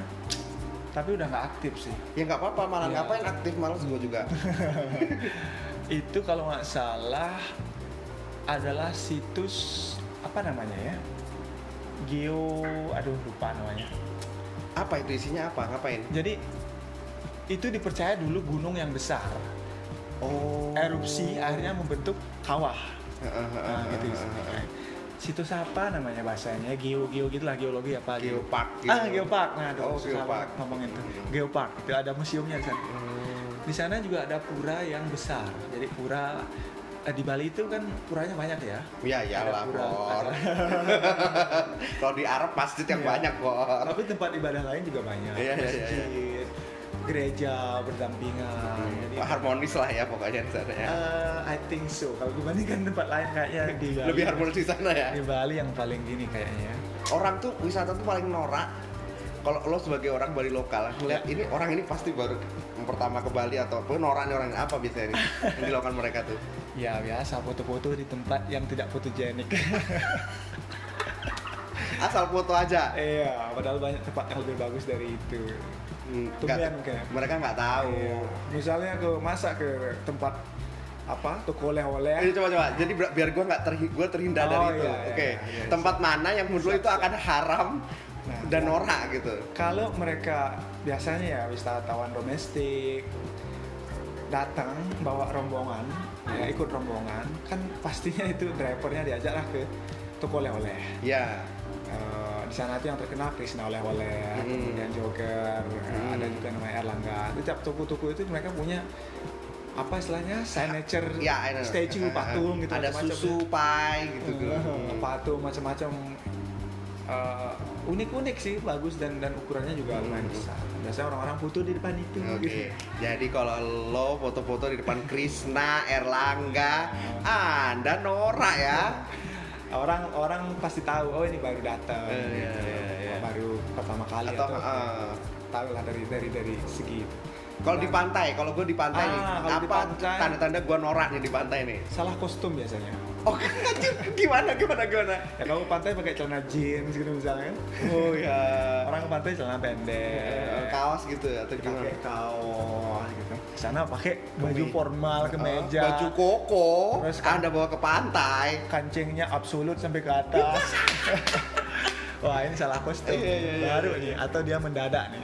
Speaker 2: tapi udah nggak aktif sih
Speaker 1: Ya nggak apa-apa, malah
Speaker 2: Iya.
Speaker 1: ngapain aktif malas gua juga.
Speaker 2: itu kalau nggak salah adalah situs apa namanya ya geo aduh lupa namanya
Speaker 1: apa itu isinya apa? Ngapain?
Speaker 2: jadi itu dipercaya dulu gunung yang besar
Speaker 1: Oh.
Speaker 2: erupsi akhirnya membentuk kawah
Speaker 1: Heeh, heeh,
Speaker 2: Nah, gitu
Speaker 1: heeh,
Speaker 2: isinya.
Speaker 1: heeh.
Speaker 2: situs apa namanya bahasanya geo geo gitulah geologi apa gitu.
Speaker 1: Geopark
Speaker 2: ah
Speaker 1: gitu.
Speaker 2: geopark nah aduh,
Speaker 1: Oh,
Speaker 2: susah
Speaker 1: geopark.
Speaker 2: banget ngomong itu
Speaker 1: Hmm.
Speaker 2: geopark itu ada museumnya di sana
Speaker 1: Hmm.
Speaker 2: di sana juga ada pura yang besar jadi pura eh, di Bali itu kan puranya banyak ya
Speaker 1: Ya ya
Speaker 2: Ada pura,
Speaker 1: lapor.
Speaker 2: ada-
Speaker 1: Kalau di Arab pasti yang
Speaker 2: Iya.
Speaker 1: banyak kok.
Speaker 2: tapi tempat ibadah lain juga banyak
Speaker 1: Iya, iya, iya, iya.
Speaker 2: masjid gereja berdampingan jadi
Speaker 1: harmonis lah ya pokoknya di sana ya.
Speaker 2: eh, I think so kalau gue bandingkan tempat lain kayaknya di Bali
Speaker 1: Lebih harmonis di sana ya.
Speaker 2: di Bali yang paling gini kayaknya
Speaker 1: Orang tuh wisata tuh paling norak. Kalau lo sebagai orang Bali lokal ngeliat ini orang ini pasti baru pertama ke Bali atau pokoknya norak nih orang ini. apa biasanya nih yang dilakukan mereka tuh.
Speaker 2: ya biasa foto-foto di tempat yang tidak fotogenik
Speaker 1: Asal foto aja.
Speaker 2: iya padahal banyak tempat yang lebih bagus dari itu
Speaker 1: Hmm,
Speaker 2: Tumben
Speaker 1: nggak-
Speaker 2: kayak.
Speaker 1: mereka nggak tahu.
Speaker 2: Iya. misalnya ke masa ke tempat apa toko
Speaker 1: Jadi
Speaker 2: oleh-oleh
Speaker 1: coba coba. Jadi bi- biar gua nggak terhi gua terhindar
Speaker 2: Oh,
Speaker 1: dari itu.
Speaker 2: iya, iya,
Speaker 1: Oke.
Speaker 2: iya, iya.
Speaker 1: Tempat mana yang menurut lo itu akan haram
Speaker 2: Nah,
Speaker 1: dan
Speaker 2: iya.
Speaker 1: norak gitu.
Speaker 2: kalau mereka biasanya ya wisatawan domestik datang bawa rombongan ya, ikut rombongan kan pastinya itu drivernya diajaklah ke toko oleh-oleh
Speaker 1: Ya.
Speaker 2: Eh, di sana tuh yang terkenal Krishna oleh-oleh,
Speaker 1: Hmm.
Speaker 2: kemudian Joker, eh,
Speaker 1: Hmm.
Speaker 2: ada juga namanya Erlangga. Itu tiap toko-toko itu mereka punya apa istilahnya signature
Speaker 1: Ya, I don't know.
Speaker 2: statue
Speaker 1: Eh,
Speaker 2: patung gitu
Speaker 1: Ada
Speaker 2: macam-macam.
Speaker 1: susu pai gitu.
Speaker 2: Eh, patung macam-macam Eh, unik-unik sih bagus dan dan ukurannya juga lumayan besar biasanya orang-orang foto di depan itu
Speaker 1: Hmm. Oke,
Speaker 2: gitu.
Speaker 1: jadi kalau lo foto-foto di depan Krishna, Erlangga, Anda norak ya.
Speaker 2: orang orang pasti tahu oh ini baru datang
Speaker 1: Eh, iya,
Speaker 2: gitu.
Speaker 1: iya, iya.
Speaker 2: baru pertama kali
Speaker 1: Atau
Speaker 2: atau
Speaker 1: eh,
Speaker 2: tahu lah dari dari dari segi itu.
Speaker 1: kalau di pantai, kalau gue di pantai
Speaker 2: Ah,
Speaker 1: nih,
Speaker 2: kalau di
Speaker 1: apa
Speaker 2: pantai.
Speaker 1: tanda-tanda gue norak nih di pantai nih?
Speaker 2: salah kostum biasanya
Speaker 1: Oke, gimana gimana gimana?
Speaker 2: ya kamu pantai pakai celana jeans gitu misalnya
Speaker 1: Oh ya,
Speaker 2: orang ke pantai celana
Speaker 1: Eh,
Speaker 2: pendek
Speaker 1: kaos gitu atau gimana?
Speaker 2: pakai kaos
Speaker 1: Iya.
Speaker 2: gitu sana pakai baju
Speaker 1: Kemeja.
Speaker 2: formal kemeja
Speaker 1: Eh, baju koko,
Speaker 2: Terus kan-
Speaker 1: Anda bawa ke pantai.
Speaker 2: kancingnya absolut sampai ke atas wah ini salah
Speaker 1: Iya,
Speaker 2: kostum
Speaker 1: iya, iya,
Speaker 2: baru
Speaker 1: iya.
Speaker 2: nih atau dia mendadak nih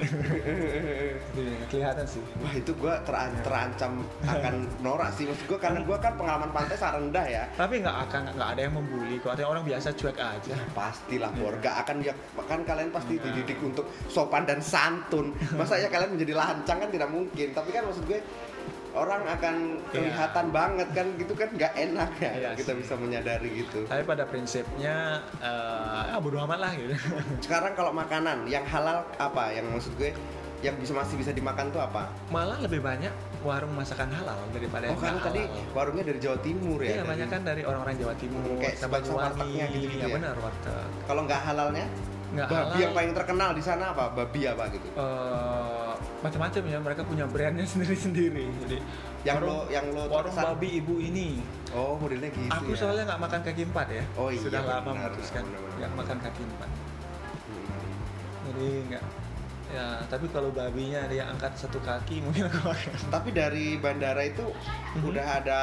Speaker 2: Itu yang kelihatan sih
Speaker 1: Wah itu gue terancam akan norak sih maksud gue karena gue kan pengalaman pantai sangat rendah ya.
Speaker 2: tapi nggak akan nggak ada yang membuli kok ada orang biasa cuek aja
Speaker 1: Pastilah bor, gak akan ya kan kalian pasti dididik untuk sopan dan santun. Masa ya kalian menjadi lancang kan tidak mungkin. Tapi kan maksud gue orang akan kelihatan banget kan gitu kan nggak enak ya.
Speaker 2: Iya
Speaker 1: kita
Speaker 2: sih.
Speaker 1: bisa menyadari gitu.
Speaker 2: tapi pada prinsipnya eh ah, bodo amat lah gitu
Speaker 1: Sekarang kalau makanan yang halal apa? Yang maksud gue yang bisa masih bisa dimakan tuh apa?
Speaker 2: malah lebih banyak warung masakan halal daripada
Speaker 1: Oh
Speaker 2: yang
Speaker 1: kamu
Speaker 2: nggak
Speaker 1: tadi
Speaker 2: halal.
Speaker 1: warungnya dari Jawa Timur ya?
Speaker 2: Iya,
Speaker 1: dari-
Speaker 2: banyak kan dari orang-orang Jawa Timur,
Speaker 1: Kayak
Speaker 2: sama Banyuwangi,
Speaker 1: wartegnya gitu-gitu
Speaker 2: ya,
Speaker 1: ya?
Speaker 2: benar warteg.
Speaker 1: Kalau nggak halalnya?
Speaker 2: Nggak
Speaker 1: babi
Speaker 2: halal.
Speaker 1: yang paling terkenal di sana apa? Babi apa gitu?
Speaker 2: Eh, macam-macam ya mereka punya brandnya sendiri-sendiri. Jadi
Speaker 1: Yang lo- yang lo
Speaker 2: warung
Speaker 1: terkesan-
Speaker 2: babi ibu ini.
Speaker 1: Oh modelnya gitu
Speaker 2: Aku
Speaker 1: ya.
Speaker 2: soalnya nggak makan kaki empat ya.
Speaker 1: Oh iya,
Speaker 2: Sudah lama
Speaker 1: benar,
Speaker 2: memutuskan
Speaker 1: benar, benar.
Speaker 2: nggak makan kaki empat.
Speaker 1: Hmm.
Speaker 2: Jadi nggak. Ya, tapi kalau babinya dia angkat satu kaki mungkin aku makan.
Speaker 1: Tapi dari bandara itu
Speaker 2: Mhm.
Speaker 1: udah ada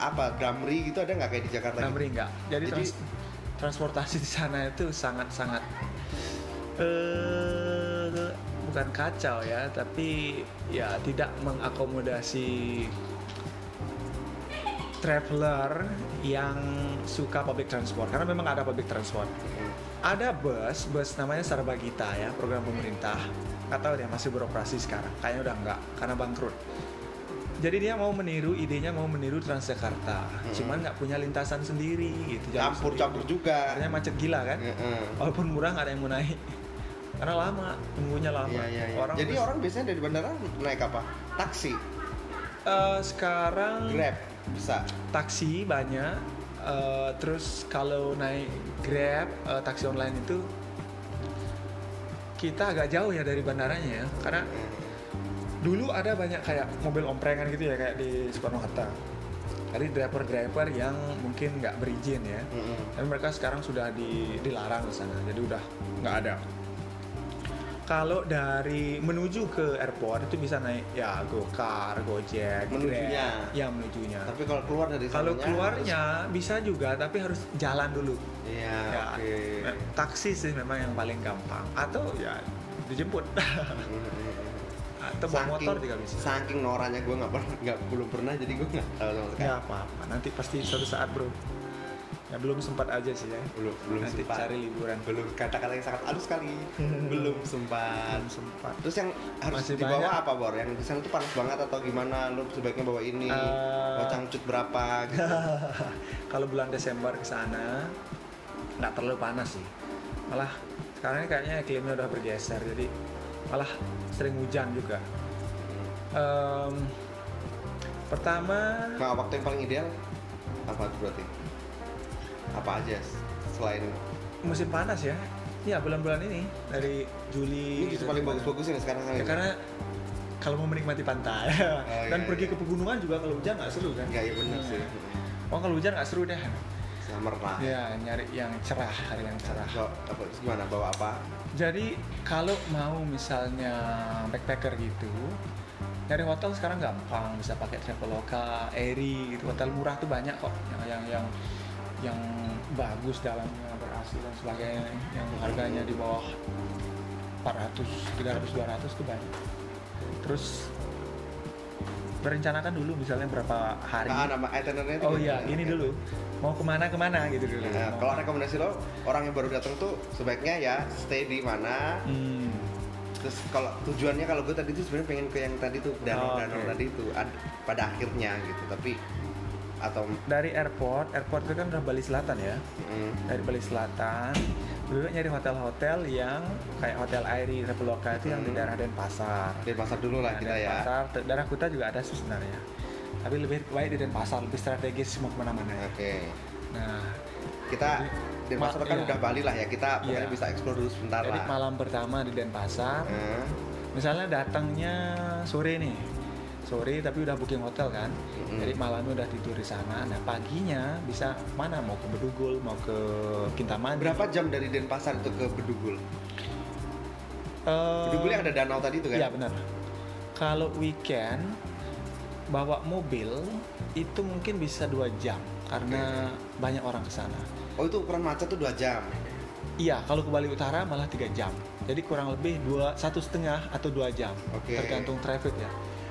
Speaker 1: apa Damri gitu ada nggak kayak di Jakarta? gitu?
Speaker 2: Damri enggak. Jadi,
Speaker 1: Jadi-
Speaker 2: trans- transportasi di sana itu sangat-sangat eh bukan kacau ya, tapi ya tidak mengakomodasi traveler yang suka public transport karena memang ada public transport. Ada bus, bus namanya Sarbagita ya, program pemerintah. Nggak tahu deh masih beroperasi sekarang. Kayaknya udah enggak karena bangkrut. jadi dia mau meniru idenya mau meniru Transjakarta
Speaker 1: Hmm.
Speaker 2: cuman nggak punya lintasan sendiri gitu jalur
Speaker 1: campur campur
Speaker 2: sendiri.
Speaker 1: juga
Speaker 2: akhirnya macet gila kan
Speaker 1: Heeh.
Speaker 2: walaupun murah nggak ada yang mau naik karena lama tunggunya lama
Speaker 1: Iya, iya, iya.
Speaker 2: orang
Speaker 1: Jadi
Speaker 2: bes-
Speaker 1: orang biasanya dari bandara naik apa? Taksi,
Speaker 2: Eh, sekarang
Speaker 1: Grab, bisa.
Speaker 2: taksi banyak Eh, terus kalau naik grab eh, taksi online itu kita agak jauh ya dari bandaranya ya karena dulu ada banyak kayak mobil omprengan gitu ya kayak di Soekarno Hatta dari driver driver yang mungkin nggak berizin ya
Speaker 1: Mm-mm.
Speaker 2: tapi mereka sekarang sudah di- dilarang ke sana jadi udah nggak ada kalau dari menuju ke airport itu bisa naik ya gokar gojek Grab.
Speaker 1: Menujunya.
Speaker 2: ya menujunya
Speaker 1: Tapi kalau keluar dari
Speaker 2: kalau
Speaker 1: sananya
Speaker 2: keluarnya bisa juga tapi harus jalan dulu
Speaker 1: harus- Iya,
Speaker 2: ya
Speaker 1: oke.
Speaker 2: eh, taksi sih memang yang paling gampang atau ya dijemput
Speaker 1: Mm-mm.
Speaker 2: atau bawa motor juga bisa
Speaker 1: Saking noranya gue nggak pernah, nggak belum pernah, jadi gue nggak tahu sama sekali.
Speaker 2: nggak Ya, apa-apa nanti pasti suatu saat bro ya belum sempat aja sih ya
Speaker 1: Belum, belum
Speaker 2: nanti
Speaker 1: sempat.
Speaker 2: cari liburan
Speaker 1: Belum kata-kata yang sangat halus sekali. belum sempat.
Speaker 2: belum sempat
Speaker 1: Terus yang harus
Speaker 2: Masih
Speaker 1: dibawa
Speaker 2: banyak.
Speaker 1: apa, Bor? Yang di sana tuh panas banget atau gimana? Lu sebaiknya bawa ini,
Speaker 2: Eh.
Speaker 1: bawa cangcut berapa gitu.
Speaker 2: kalau bulan Desember ke sana nggak terlalu panas sih malah sekarang ini kayaknya iklimnya udah bergeser jadi malah sering hujan juga Em, pertama
Speaker 1: Nah, waktu yang paling ideal apa tuh berarti? Apa aja s- selain
Speaker 2: musim panas ya ya bulan-bulan ini dari Juli gitu.
Speaker 1: ini justru paling bagus-bagus ini sekarang kali.
Speaker 2: Iya, ya, karena kalau mau menikmati pantai dan
Speaker 1: iya,
Speaker 2: pergi
Speaker 1: iya.
Speaker 2: ke pegunungan juga kalau hujan nggak seru kan
Speaker 1: enggak ya benar sih.
Speaker 2: oh kalau hujan nggak seru deh
Speaker 1: Summer lah. Nah,
Speaker 2: ya nyari yang cerah hari yang cerah
Speaker 1: Bawa, apa, gimana bawa apa?
Speaker 2: Jadi kalau mau misalnya backpacker gitu, nyari hotel sekarang gampang, bisa pakai Traveloka, Airy gitu. Hotel murah tuh banyak kok yang yang yang, yang bagus dalamnya berhasil dan sebagainya yang harganya di bawah 400, 300, 200 tuh banyak. Terus berencanakan dulu misalnya berapa hari.
Speaker 1: Ah, nama itinerary
Speaker 2: Oh iya, ini dulu. Mau kemana kemana gitu dulu.
Speaker 1: Nah,
Speaker 2: Mau-
Speaker 1: kalau rekomendasi lo, orang yang baru datang tuh sebaiknya ya stay di mana.
Speaker 2: Hmm.
Speaker 1: Terus kalau tujuannya kalau gue tadi tuh sebenarnya pengen ke yang tadi tuh danau-danau
Speaker 2: Oh, Oke.
Speaker 1: tadi tuh ad- pada akhirnya gitu. Tapi atau
Speaker 2: dari airport, airport itu kan udah Bali Selatan ya.
Speaker 1: mm,
Speaker 2: Dari Bali Selatan, dulu nyari hotel-hotel yang kayak hotel Airi, Traveloka itu yang di
Speaker 1: Hmm.
Speaker 2: daerah Denpasar.
Speaker 1: Denpasar dulu lah
Speaker 2: Nah,
Speaker 1: kita ya.
Speaker 2: Denpasar, te- daerah Kuta juga ada sih sebenarnya. Tapi lebih baik di Denpasar, lebih strategis mau kemana-mana.
Speaker 1: Oke.
Speaker 2: ya. Nah,
Speaker 1: kita di
Speaker 2: Ma-
Speaker 1: Denpasar kan
Speaker 2: iya.
Speaker 1: udah Bali lah ya kita pokoknya
Speaker 2: Iya.
Speaker 1: bisa explore dulu sebentar
Speaker 2: jadi
Speaker 1: lah
Speaker 2: malam pertama di Denpasar,
Speaker 1: Nah,
Speaker 2: misalnya datangnya sore nih sore tapi udah booking hotel kan
Speaker 1: Mm-mm.
Speaker 2: jadi malamnya udah tidur di sana nah paginya bisa mana mau ke Bedugul mau ke Kintamani
Speaker 1: berapa jam dari Denpasar itu ke Bedugul
Speaker 2: Eh,
Speaker 1: Bedugul yang ada danau tadi itu kan
Speaker 2: Iya benar. Kalau weekend bawa mobil itu mungkin bisa dua jam karena banyak orang ke sana.
Speaker 1: oh itu ukuran macet tuh 2 jam
Speaker 2: Iya, kalau ke Bali Utara malah tiga jam. Jadi kurang lebih dua satu setengah atau dua jam,
Speaker 1: Oke.
Speaker 2: tergantung traffic ya.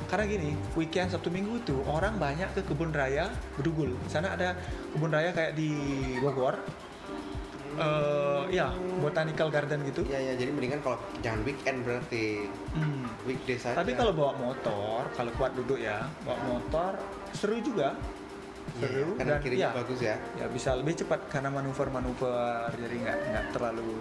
Speaker 2: Karena gini, weekend Sabtu Minggu itu orang banyak ke kebun raya Bedugul. Di sana ada kebun raya kayak di Bogor. Eh, iya, botanical garden gitu.
Speaker 1: iya iya jadi mendingan kalau jangan weekend berarti
Speaker 2: Hmm.
Speaker 1: weekday saja
Speaker 2: Tapi kalau bawa motor, kalau kuat duduk ya, bawa motor seru juga.
Speaker 1: Iya,
Speaker 2: Seru
Speaker 1: kanan
Speaker 2: dan
Speaker 1: kirinya
Speaker 2: ya,
Speaker 1: bagus ya
Speaker 2: ya bisa lebih cepat karena manuver-manuver jadi nggak nggak terlalu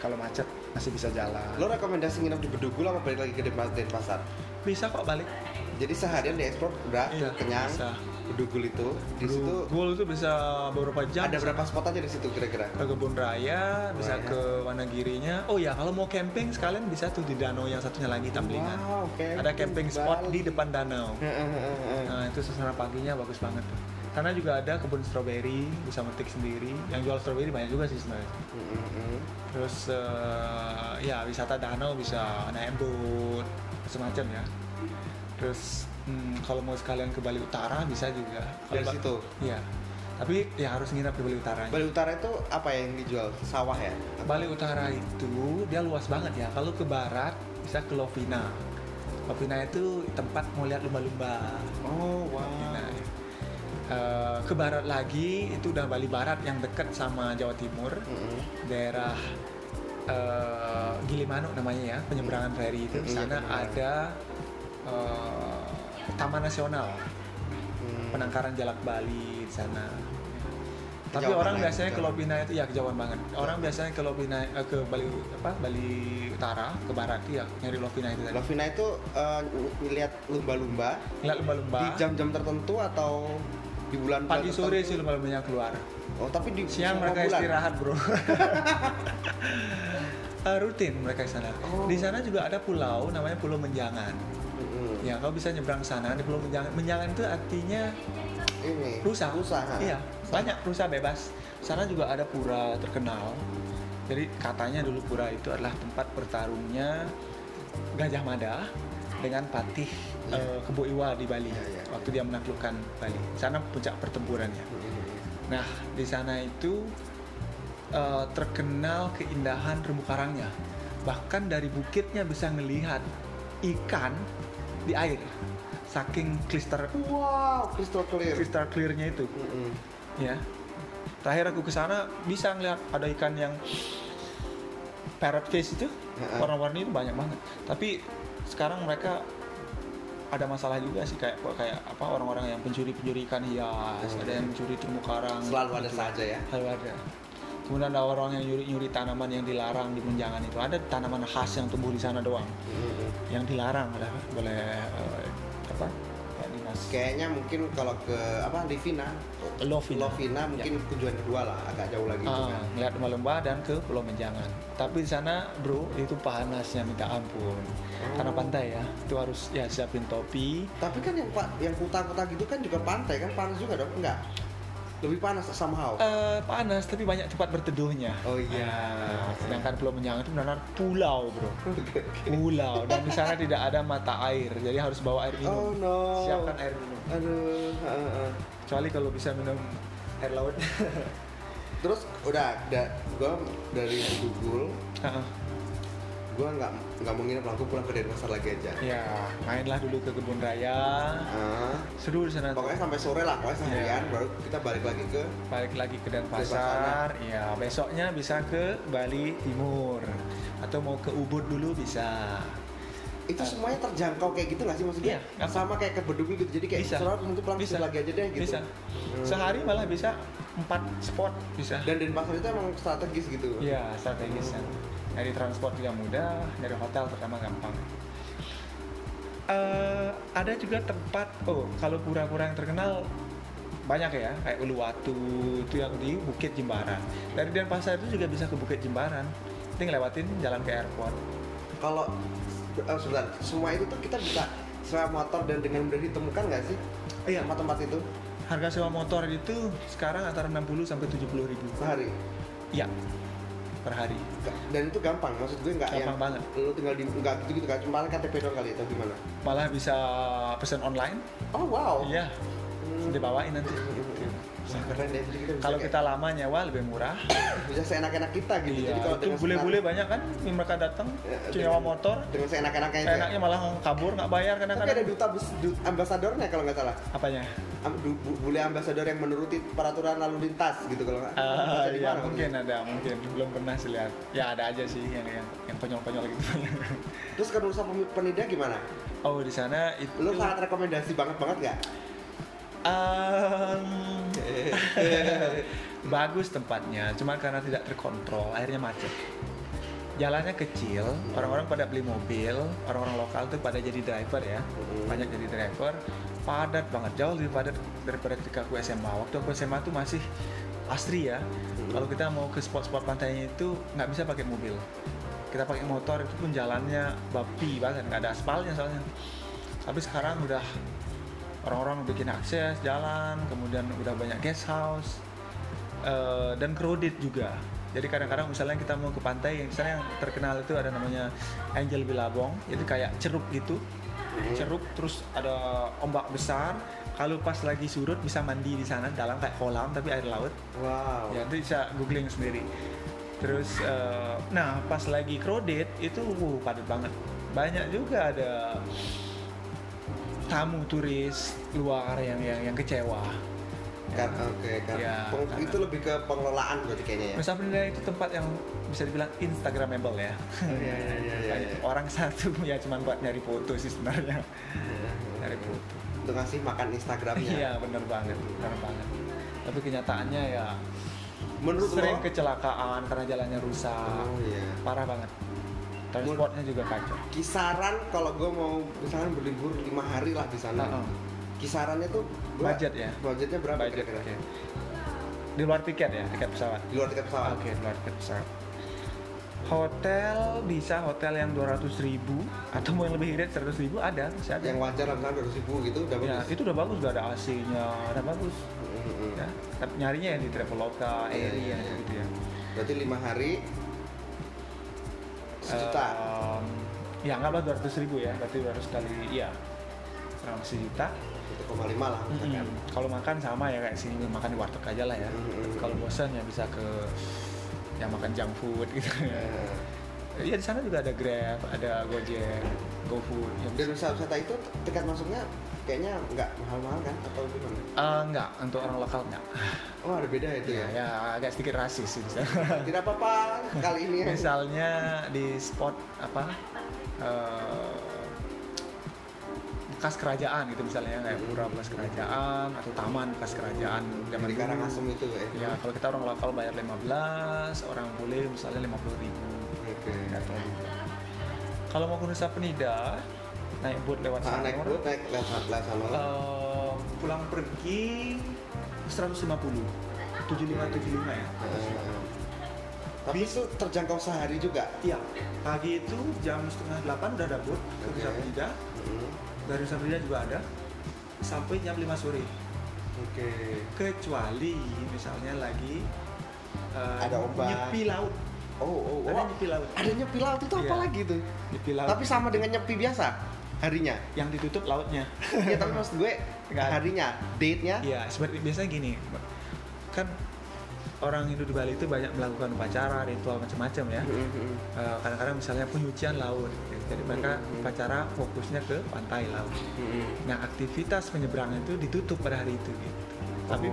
Speaker 2: kalau macet masih bisa jalan.
Speaker 1: lo rekomendasi nginep di Bedugul apa balik lagi ke Denpa- Denpasar
Speaker 2: bisa kok balik.
Speaker 1: jadi seharian di explore udah
Speaker 2: Iya,
Speaker 1: kenyang
Speaker 2: bisa.
Speaker 1: Bedugul itu di situ
Speaker 2: Gol itu bisa beberapa jam.
Speaker 1: ada berapa ya. spot aja di situ kira-kira
Speaker 2: ke kebun raya, bisa
Speaker 1: Raya.
Speaker 2: ke Wanagirinya. Oh ya, kalau mau camping sekalian bisa tuh di danau yang satunya lagi Tamblingan.
Speaker 1: Wow, camping
Speaker 2: Ada camping spot
Speaker 1: Bali.
Speaker 2: di depan danau.
Speaker 1: Heeh, heeh, heeh.
Speaker 2: Nah, itu suasana paginya bagus banget tuh. Sana juga ada kebun stroberi, bisa metik sendiri. Yang jual stroberi banyak juga sih sebenarnya.
Speaker 1: Heeh, heeh.
Speaker 2: Terus eh, ya wisata danau bisa naik boat semacam ya. Terus hmm, kalau mau sekalian ke Bali Utara bisa juga. Kalau
Speaker 1: dari
Speaker 2: ba-
Speaker 1: situ
Speaker 2: Iya. Tapi ya harus nginap di Bali Utara.
Speaker 1: Bali Utara itu apa yang dijual? Sawah ya?
Speaker 2: Bali Utara itu dia luas banget ya. Kalau ke barat bisa ke Lovina. Lovina itu tempat mau lihat lumba-lumba.
Speaker 1: Oh,
Speaker 2: Nah, eh, ke barat lagi itu udah Bali Barat yang dekat sama Jawa Timur,
Speaker 1: Mm-mm.
Speaker 2: daerah eh,
Speaker 1: Hmm.
Speaker 2: Gili Manuk namanya ya, penyeberangan ferry itu.
Speaker 1: Mm, iya,
Speaker 2: Di sana
Speaker 1: penyeberangan.
Speaker 2: ada eh, taman nasional
Speaker 1: Hmm.
Speaker 2: penangkaran jalak Bali di sana tapi
Speaker 1: Kejauhan
Speaker 2: orang
Speaker 1: banget,
Speaker 2: biasanya ke
Speaker 1: kejauhan.
Speaker 2: Lobina itu ya kejauhan banget orang biasanya ke Lobina eh, ke Bali apa Bali Utara ke Barat ya nyari Lovina itu tadi
Speaker 1: Lovina itu eh, ngeliat lumba-lumba
Speaker 2: ngeliat lumba-lumba
Speaker 1: di jam-jam tertentu atau di bulan
Speaker 2: pagi sore sih lumba-lumbanya keluar
Speaker 1: Oh, tapi di
Speaker 2: siang
Speaker 1: semua
Speaker 2: mereka
Speaker 1: bulan?
Speaker 2: istirahat bro Eh, rutin mereka di sana
Speaker 1: Oh.
Speaker 2: di sana juga ada pulau namanya Pulau Menjangan
Speaker 1: Mm-mm.
Speaker 2: ya kau bisa nyebrang sana di Pulau Menjangan Menjangan itu artinya
Speaker 1: Ini.
Speaker 2: rusa
Speaker 1: Rusa. ha?
Speaker 2: iya banyak rusa bebas sana juga ada pura terkenal jadi katanya dulu pura itu adalah tempat bertarungnya Gajah Mada dengan patih
Speaker 1: Iya.
Speaker 2: eh, Kebo Iwa di Bali
Speaker 1: Iya, iya.
Speaker 2: waktu dia menaklukkan Bali sana puncak pertempurannya
Speaker 1: Mm-mm.
Speaker 2: nah di sana itu eh, terkenal keindahan terumbu karangnya bahkan dari bukitnya bisa ngelihat ikan di air saking klister
Speaker 1: Wow, crystal clear.
Speaker 2: kristal clearnya itu
Speaker 1: Mm-mm.
Speaker 2: ya terakhir aku ke sana bisa ngeliat ada ikan yang parrot case itu
Speaker 1: Heeh.
Speaker 2: warna-warni itu banyak banget tapi sekarang mereka ada masalah juga sih kayak kayak apa orang-orang yang pencuri-pencuri ikan hias
Speaker 1: Hmm.
Speaker 2: ada yang mencuri terumbu karang
Speaker 1: Selalu ada saja ya.
Speaker 2: selalu ada kemudian ada orang yang nyuri-nyuri tanaman yang dilarang di menjangan itu ada tanaman khas yang tumbuh di sana doang
Speaker 1: Mm-mm.
Speaker 2: yang dilarang ada boleh eh, apa kayak dinas
Speaker 1: Kayaknya mungkin kalau ke apa Livina,
Speaker 2: Lovina.
Speaker 1: Lovina mungkin tujuan kedua lah, agak jauh lagi itu
Speaker 2: Ya. Ah,
Speaker 1: kan.
Speaker 2: ngeliat lumba-lumba dan ke Pulau Menjangan. Tapi di sana, bro, itu panasnya minta ampun. Karena
Speaker 1: Oh.
Speaker 2: pantai ya, itu harus ya siapin topi.
Speaker 1: Tapi kan yang pa- yang kota-kota gitu kan juga pantai kan panas juga dong, enggak? Lebih panas somehow.
Speaker 2: Eh, panas tapi banyak tempat berteduhnya.
Speaker 1: Oh iya.
Speaker 2: Nah, sedangkan Pulau Menjangan itu benar-benar pulau, bro. Pulau dan di sana tidak ada mata air, jadi harus bawa air
Speaker 1: Oh
Speaker 2: minum.
Speaker 1: no.
Speaker 2: Siapkan air minum.
Speaker 1: Aduh. heeh, heeh.
Speaker 2: Kecuali kalau bisa minum air laut.
Speaker 1: Terus udah, udah gue dari Google,
Speaker 2: Ah,
Speaker 1: gue nggak nggak mau nginep lah, gue pulang ke Denpasar lagi aja.
Speaker 2: ya, mainlah dulu ke kebun raya.
Speaker 1: Ah,
Speaker 2: Seru di sana. tuh.
Speaker 1: pokoknya sampai sore lah, pokoknya seharian
Speaker 2: Iya.
Speaker 1: baru kita balik lagi ke
Speaker 2: balik lagi ke Denpasar, ya besoknya bisa ke Bali Timur atau mau ke Ubud dulu bisa.
Speaker 1: itu semuanya terjangkau kayak gitu nggak sih maksudnya?
Speaker 2: Iya, nggak
Speaker 1: sama kayak ke Bedugul gitu, jadi kayak
Speaker 2: Bisa.
Speaker 1: sore mungkin pulang ke
Speaker 2: Bisa.
Speaker 1: situ lagi aja deh gitu.
Speaker 2: Bisa.
Speaker 1: Hmm.
Speaker 2: Sehari malah bisa empat spot bisa.
Speaker 1: Dan Denpasar itu emang strategis gitu.
Speaker 2: Iya, strategis. ya. Dari transport juga mudah, dari hotel terutama gampang. Eh, ada juga tempat, oh kalau pura-pura yang terkenal banyak ya, kayak Uluwatu itu yang di Bukit Jembaran. Dari Denpasar itu juga bisa ke Bukit Jembaran. Ini ngelewatin jalan ke airport.
Speaker 1: Kalau eh, sebentar, semua itu tuh kita bisa sewa motor dan dengan mudah ditemukan nggak sih?
Speaker 2: Iya.
Speaker 1: Tempat-tempat itu
Speaker 2: Harga sewa motor itu sekarang antara 60 sampai 70 ribu.
Speaker 1: sehari.
Speaker 2: Iya, per hari.
Speaker 1: Dan itu gampang, maksud gue nggak yang
Speaker 2: Gampang banget.
Speaker 1: lu tinggal di nggak gitu gitu kan cuma KTP doang kali atau gimana?
Speaker 2: Malah bisa pesan online.
Speaker 1: Oh wow.
Speaker 2: Iya,
Speaker 1: Hmm.
Speaker 2: dibawain nanti.
Speaker 1: Wah, keren deh. Jadi kita bisa
Speaker 2: Kalau
Speaker 1: kayak-
Speaker 2: kita lama nyewa lebih murah.
Speaker 1: bisa seenak-enak kita gitu.
Speaker 2: Iya,
Speaker 1: Jadi kalau
Speaker 2: itu
Speaker 1: dengan
Speaker 2: bule-bule banyak kan yang mereka datang,
Speaker 1: Eh,
Speaker 2: nyewa
Speaker 1: dengan-
Speaker 2: motor,
Speaker 1: dengan seenak-enaknya itu. ya?
Speaker 2: enaknya malah kabur nggak bayar
Speaker 1: Tapi ada
Speaker 2: kadang-kadang.
Speaker 1: duta bus, dut- ambasadornya kalau nggak salah.
Speaker 2: Apanya?
Speaker 1: Am- du- bu- bule ambasador yang menuruti peraturan lalu lintas gitu kalau nggak.
Speaker 2: Ah,
Speaker 1: Bisa di
Speaker 2: iya,
Speaker 1: mana,
Speaker 2: mungkin
Speaker 1: maksudnya?
Speaker 2: ada, mungkin belum pernah sih lihat. Ya ada aja sih yang yang yang konyol-konyol gitu.
Speaker 1: Terus kenulisan pem- penida gimana?
Speaker 2: oh di sana itu.
Speaker 1: Lu sangat rekomendasi banget banget nggak?
Speaker 2: Em, bagus tempatnya, cuma karena tidak terkontrol, akhirnya macet. Jalannya kecil, orang-orang pada beli mobil, orang-orang lokal tuh pada jadi driver ya,
Speaker 1: Hmm.
Speaker 2: banyak jadi driver, padat banget, jauh lebih padat daripada ketika aku SMA. Waktu aku SMA tuh masih asri ya, kalau kita mau ke spot-spot pantainya itu nggak bisa pakai mobil, kita pakai motor itu pun jalannya babi banget, nggak ada aspalnya soalnya. Tapi sekarang udah orang-orang bikin akses jalan kemudian udah banyak guest house eh, dan crowded juga jadi kadang-kadang misalnya kita mau ke pantai yang misalnya yang terkenal itu ada namanya Angel Bilabong jadi kayak ceruk gitu ceruk terus ada ombak besar kalau pas lagi surut bisa mandi di sana dalam kayak kolam tapi air laut
Speaker 1: Wow.
Speaker 2: ya itu bisa googling sendiri terus eh, nah pas lagi crowded itu wuh padat banget banyak juga ada tamu turis luar yang yang yang kecewa
Speaker 1: Kan oke kan.
Speaker 2: Iya,
Speaker 1: Peng-
Speaker 2: karena-
Speaker 1: itu lebih ke pengelolaan berarti kayaknya ya.
Speaker 2: Nusa Penida itu tempat yang bisa dibilang instagramable ya
Speaker 1: Iya iya iya iya.
Speaker 2: Banyak orang satu ya cuman buat nyari foto sih sebenarnya dari Putu.
Speaker 1: iya. untuk ngasih makan Instagramnya
Speaker 2: Iya bener banget, bener banget. Tapi kenyataannya ya
Speaker 1: menurut
Speaker 2: sering
Speaker 1: lo
Speaker 2: kecelakaan karena jalannya rusak,
Speaker 1: oh iya
Speaker 2: parah banget. Transportnya juga kacau.
Speaker 1: kisaran kalau gue mau misalnya berlibur lima hari lah di sana
Speaker 2: Heeh.
Speaker 1: kisarannya tuh gua-
Speaker 2: Budget ya?
Speaker 1: budgetnya berapa
Speaker 2: Budget,
Speaker 1: kira-kira
Speaker 2: oke. Di luar tiket ya, tiket pesawat.
Speaker 1: di luar tiket pesawat
Speaker 2: Oke, di luar tiket pesawat. Hotel bisa hotel yang 200.000 ribu atau mau yang lebih irit 100.000 ribu ada, masih ada.
Speaker 1: yang wajar lah misalnya 200 ribu gitu udah
Speaker 2: ya,
Speaker 1: bagus
Speaker 2: itu udah bagus, udah ada AC-nya, udah bagus.
Speaker 1: Mm-mm.
Speaker 2: Ya, tapi nyarinya yang di Traveloka,
Speaker 1: Iya,
Speaker 2: Airy
Speaker 1: iya,
Speaker 2: yang
Speaker 1: iya.
Speaker 2: gitu ya.
Speaker 1: berarti lima hari sejuta
Speaker 2: Em, ya anggaplah 200 ribu ya, berarti 200 kali iya kurang lebih sejuta.
Speaker 1: 1,5 lah misalkan
Speaker 2: Mm-mm. Kalau makan sama ya kayak sini makan di warteg aja lah ya.
Speaker 1: Mm-mm.
Speaker 2: Kalau bosan ya bisa ke ya makan junk food gitu. ya.
Speaker 1: Eh,
Speaker 2: Iya di sana juga ada Grab, ada Gojek, GoFood. Ya,
Speaker 1: dan wisata-wisata itu tiket masuknya kayaknya nggak mahal-mahal kan atau gimana?
Speaker 2: Eh, enggak, untuk orang lokal enggak.
Speaker 1: Oh ada beda itu
Speaker 2: Ya,
Speaker 1: ya?
Speaker 2: ya agak sedikit rasis sih di sana.
Speaker 1: Iya. Tidak apa-apa kali ini ya.
Speaker 2: Misalnya di spot apa? eh, bekas kerajaan gitu misalnya kayak pura bekas kerajaan atau taman bekas kerajaan zaman
Speaker 1: Di
Speaker 2: dulu.
Speaker 1: Karangasem itu ya?
Speaker 2: Ya, kalau kita orang lokal bayar 15, orang boleh misalnya 50 ribu.
Speaker 1: Oke.
Speaker 2: Kalau mau ke Nusa Penida, naik boat lewat
Speaker 1: Nah, naik
Speaker 2: Sanur,
Speaker 1: boat, naik les les sama
Speaker 2: eh, pulang pergi 150. 75 75 ya.
Speaker 1: Tapi itu terjangkau sehari juga.
Speaker 2: Iya, pagi itu jam setengah 8 udah ada boat ke Nusa
Speaker 1: Oke.
Speaker 2: Penida,
Speaker 1: Mm.
Speaker 2: dari Nusa Penida juga ada sampai jam 5 sore.
Speaker 1: Oke.
Speaker 2: kecuali misalnya lagi eh,
Speaker 1: Ada ombak.
Speaker 2: nyepi laut
Speaker 1: Oh, oh, oh.
Speaker 2: ada nyepi laut
Speaker 1: Ada nyepi laut itu apa
Speaker 2: Iya.
Speaker 1: lagi tuh?
Speaker 2: nyepi laut
Speaker 1: Tapi sama dengan nyepi biasa harinya.
Speaker 2: yang ditutup lautnya
Speaker 1: ya tapi maksud gue
Speaker 2: Nggak.
Speaker 1: harinya, date-nya.
Speaker 2: iya seperti biasanya gini kan orang Hindu di Bali itu banyak melakukan upacara ritual macam-macam ya
Speaker 1: Mm-mm.
Speaker 2: Eh, kadang-kadang misalnya penyucian laut gitu. jadi mereka
Speaker 1: Mhm.
Speaker 2: upacara fokusnya ke pantai laut
Speaker 1: Mm-mm.
Speaker 2: nah aktivitas penyeberangan itu ditutup pada hari itu gitu tapi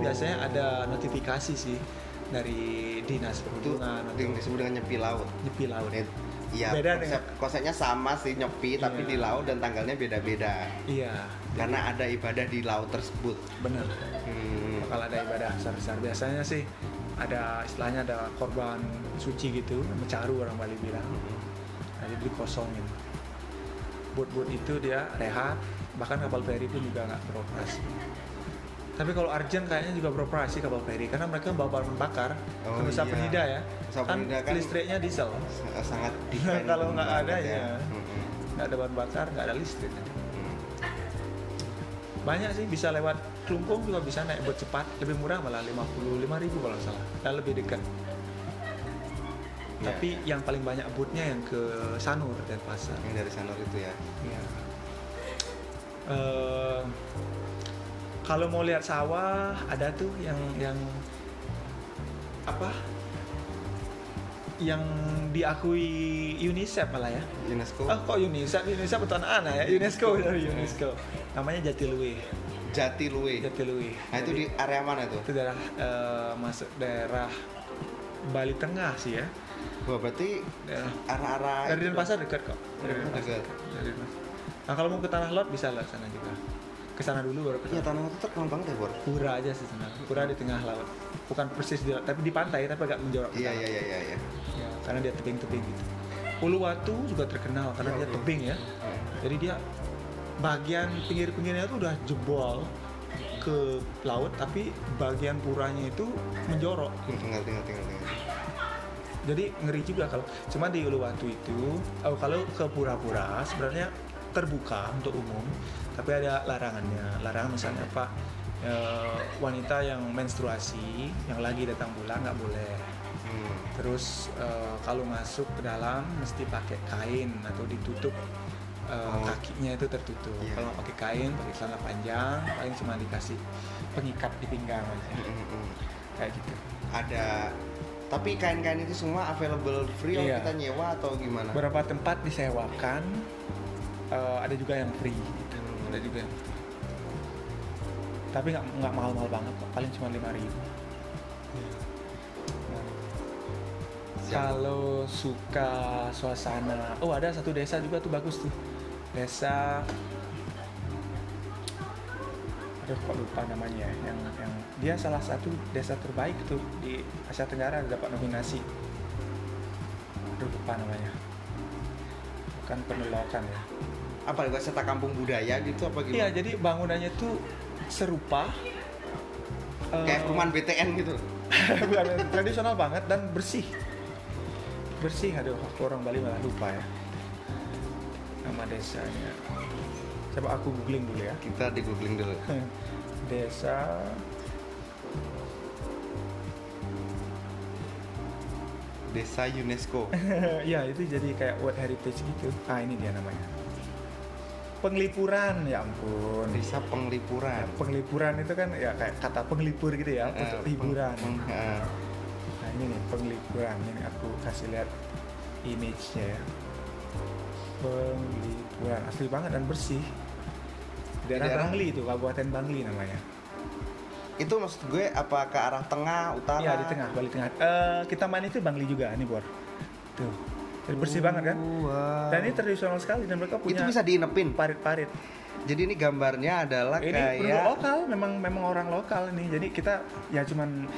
Speaker 1: Oh.
Speaker 2: biasanya ada notifikasi sih dari dinas
Speaker 1: Itu
Speaker 2: perhubungan atau
Speaker 1: yang disebut dengan nyepi laut.
Speaker 2: nyepi laut
Speaker 1: Eh, Iya,
Speaker 2: Nah, Beda
Speaker 1: konsep,
Speaker 2: dengan-
Speaker 1: konsepnya sama sih nyepi tapi
Speaker 2: Iya.
Speaker 1: di laut dan tanggalnya beda-beda.
Speaker 2: iya
Speaker 1: Karena ada ibadah di laut tersebut.
Speaker 2: benar
Speaker 1: Hmm.
Speaker 2: bakal ada ibadah besar-besar biasanya sih ada istilahnya ada korban suci gitu mencaru orang Bali bilang
Speaker 1: Hmm.
Speaker 2: nah, jadi dikosongin boot-boot itu dia rehat bahkan kapal feri pun juga nggak beroperasi tapi kalau Arjen kayaknya juga beroperasi kapal feri karena mereka bawa bahan bakar
Speaker 1: Oh,
Speaker 2: ke Nusa
Speaker 1: iya.
Speaker 2: Penida ya
Speaker 1: Nusa Penida kan-
Speaker 2: listriknya diesel
Speaker 1: Sa- sangat depend Mm-hmm.
Speaker 2: Kalau nggak
Speaker 1: banget
Speaker 2: ada, ya.
Speaker 1: Mm-mm.
Speaker 2: nggak ada bahan bakar nggak ada listrik
Speaker 1: Mm.
Speaker 2: banyak sih bisa lewat Klungkung juga bisa naik boot cepat lebih murah malah 55.000 kalau nggak salah dan lebih dekat
Speaker 1: Ya,
Speaker 2: tapi yang paling banyak bootnya yang ke Sanur dan Pasar
Speaker 1: yang dari sana itu ya
Speaker 2: Eh, kalau mau lihat sawah ada tuh yang yang apa yang diakui UNICEF malah ya
Speaker 1: UNESCO
Speaker 2: oh kok UNICEF UNICEF untuk anak-anak ya UNESCO dari UNESCO namanya Jatiluwe
Speaker 1: Jatiluwe
Speaker 2: Jatiluwe
Speaker 1: nah itu di area mana tuh
Speaker 2: itu daerah eh, masuk daerah Bali Tengah sih ya
Speaker 1: Wah, berarti
Speaker 2: daerah
Speaker 1: arah-arah Nah,
Speaker 2: dari
Speaker 1: itu-
Speaker 2: Denpasar dekat kok dari
Speaker 1: Oh,
Speaker 2: Denpasar
Speaker 1: dekat.
Speaker 2: dekat. Dari Denpasar. nah kalau mau ke Tanah Lot bisa lah sana juga ke sana dulu baru ke
Speaker 1: Iya,
Speaker 2: Tanah
Speaker 1: tanah itu terkenal banget ya, Bor.
Speaker 2: Pura aja sih sebenarnya Pura di tengah laut bukan persis di laut tapi di pantai tapi agak menjorok ke
Speaker 1: Iya,
Speaker 2: sana.
Speaker 1: iya, iya, iya, iya.
Speaker 2: Ya, karena dia tebing-tebing gitu Uluwatu juga terkenal karena
Speaker 1: Iya,
Speaker 2: dia
Speaker 1: iya.
Speaker 2: tebing ya jadi dia bagian pinggir-pinggirnya itu udah jebol ke laut tapi bagian puranya itu menjorok
Speaker 1: Hmm, Tinggal, tinggal, tinggal, tinggal.
Speaker 2: jadi ngeri juga kalau cuma di Uluwatu itu oh, kalau ke pura-pura sebenarnya terbuka untuk umum tapi ada larangannya larangan misalnya apa eh, wanita yang menstruasi yang lagi datang bulan nggak boleh
Speaker 1: Hmm.
Speaker 2: terus eh, kalau masuk ke dalam mesti pakai kain atau ditutup eh,
Speaker 1: Oh.
Speaker 2: kakinya itu tertutup
Speaker 1: Iya.
Speaker 2: kalau nggak pakai kain pakai celana panjang paling cuma dikasih pengikat di pinggang aja
Speaker 1: Hmm, hmm, hmm.
Speaker 2: kayak gitu
Speaker 1: Ada tapi kain-kain itu semua available free atau
Speaker 2: Iya.
Speaker 1: kita nyewa atau gimana?
Speaker 2: beberapa tempat disewakan eh, ada juga yang free gitu.
Speaker 1: Hmm.
Speaker 2: ada juga yang free. tapi nggak nggak mahal-mahal banget kok paling cuma lima ribu
Speaker 1: Siap.
Speaker 2: kalau suka suasana oh ada satu desa juga tuh bagus tuh desa aduh kok lupa namanya ya, yang yang dia salah satu desa terbaik tuh di Asia Tenggara dapat nominasi aduh lupa namanya bukan penolakan ya
Speaker 1: apa wisata kampung budaya gitu apa gimana?
Speaker 2: iya jadi bangunannya tuh serupa
Speaker 1: kayak
Speaker 2: Eh,
Speaker 1: perumahan BTN gitu
Speaker 2: Bukan, tradisional banget dan bersih bersih aduh aku orang Bali malah lupa ya nama desanya coba aku googling dulu ya
Speaker 1: kita di googling dulu
Speaker 2: desa
Speaker 1: desa UNESCO
Speaker 2: ya itu jadi kayak World Heritage gitu ah ini dia namanya penglipuran ya ampun
Speaker 1: desa penglipuran
Speaker 2: penglipuran itu kan ya kayak kata penglipur gitu ya
Speaker 1: Eh, peng-
Speaker 2: untuk hiburan
Speaker 1: peng- eh,
Speaker 2: Nah ini nih pengliburan ini aku kasih lihat image-nya ya. Pengliburan asli banget dan bersih. Daerah
Speaker 1: daerah-
Speaker 2: Bangli itu Kabupaten Bangli namanya.
Speaker 1: itu maksud gue apa ke arah tengah utara
Speaker 2: Iya di tengah Bali tengah. Eh kita main itu Bangli juga nih Bor. Tuh Jadi bersih banget kan.
Speaker 1: Wow.
Speaker 2: Dan ini tradisional sekali dan mereka
Speaker 1: Oh. itu
Speaker 2: punya
Speaker 1: bisa diinepin
Speaker 2: parit-parit.
Speaker 1: jadi ini gambarnya adalah
Speaker 2: Ini penduduk
Speaker 1: kayak ya.
Speaker 2: lokal memang memang orang lokal nih. Jadi kita ya cuman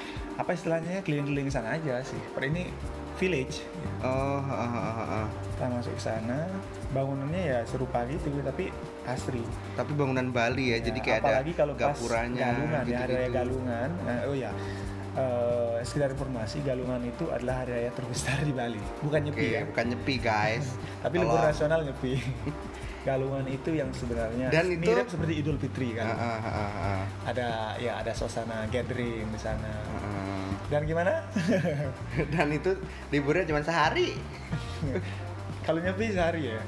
Speaker 2: apa istilahnya keliling-keliling sana aja sih. Per ini village.
Speaker 1: oh ah, ah, ah, ah.
Speaker 2: kita masuk ke sana bangunannya ya serupa gitu tapi asri
Speaker 1: tapi bangunan Bali ya,
Speaker 2: Ya,
Speaker 1: jadi kayak
Speaker 2: apalagi
Speaker 1: ada
Speaker 2: kalau pas
Speaker 1: gapuranya
Speaker 2: galungan ya hari raya
Speaker 1: gitu-gitu.
Speaker 2: galungan Nah, oh ya eh, sekedar informasi galungan itu adalah hari raya terbesar di Bali bukan
Speaker 1: Oke,
Speaker 2: nyepi ya
Speaker 1: bukan nyepi guys.
Speaker 2: tapi
Speaker 1: Kalau-
Speaker 2: libur nasional nyepi galungan itu yang sebenarnya
Speaker 1: Dan itu-
Speaker 2: mirip seperti Idul
Speaker 1: Ah,
Speaker 2: Fitri kan
Speaker 1: ah, ah, ah,
Speaker 2: ada ya ada suasana gathering di sana
Speaker 1: ah, ah.
Speaker 2: dan gimana
Speaker 1: Dan itu liburnya cuma sehari.
Speaker 2: kalau nyepi sehari ya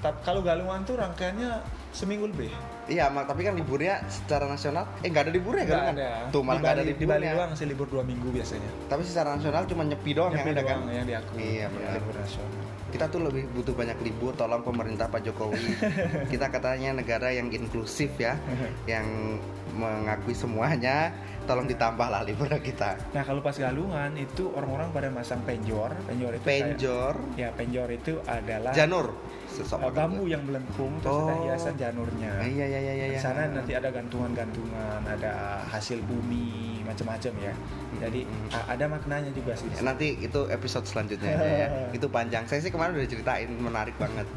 Speaker 2: Tap- kalau galungan tuh rangkaiannya seminggu lebih
Speaker 1: Iya, mak, tapi kan liburnya secara nasional eh nggak ada liburnya
Speaker 2: Nggak
Speaker 1: kan?
Speaker 2: ada.
Speaker 1: Tuh malah
Speaker 2: di
Speaker 1: nggak
Speaker 2: Bali,
Speaker 1: ada ya?
Speaker 2: di Bali
Speaker 1: liburnya.
Speaker 2: doang sih libur dua minggu biasanya.
Speaker 1: Tapi secara nasional cuma nyepi doang yang
Speaker 2: Nyepi
Speaker 1: ada kan.
Speaker 2: doang yang diakui.
Speaker 1: Iya,
Speaker 2: Ya,
Speaker 1: benar.
Speaker 2: libur nasional.
Speaker 1: Kita tuh lebih butuh banyak libur, tolong pemerintah Pak Jokowi. Kita katanya negara yang inklusif ya, yang mengakui semuanya. Tolong ditambahlah liburnya kita.
Speaker 2: Nah kalau pas galungan itu orang-orang pada masang penjor, penjor itu kayak-
Speaker 1: Penjor,
Speaker 2: ya penjor itu adalah
Speaker 1: janur,
Speaker 2: eh,
Speaker 1: sesok
Speaker 2: bambu yang melengkung terus ada
Speaker 1: Oh.
Speaker 2: hiasan janurnya.
Speaker 1: Ah, Iya iya iya iya. iya.
Speaker 2: ya? Di sana nanti ada gantungan-gantungan, ada hasil bumi macam-macam ya.
Speaker 1: Hmm.
Speaker 2: Jadi
Speaker 1: Mm-mm.
Speaker 2: a- ada maknanya juga sih.
Speaker 1: nanti itu episode selanjutnya aja ya. Itu panjang. Saya sih kemarin udah ceritain menarik banget.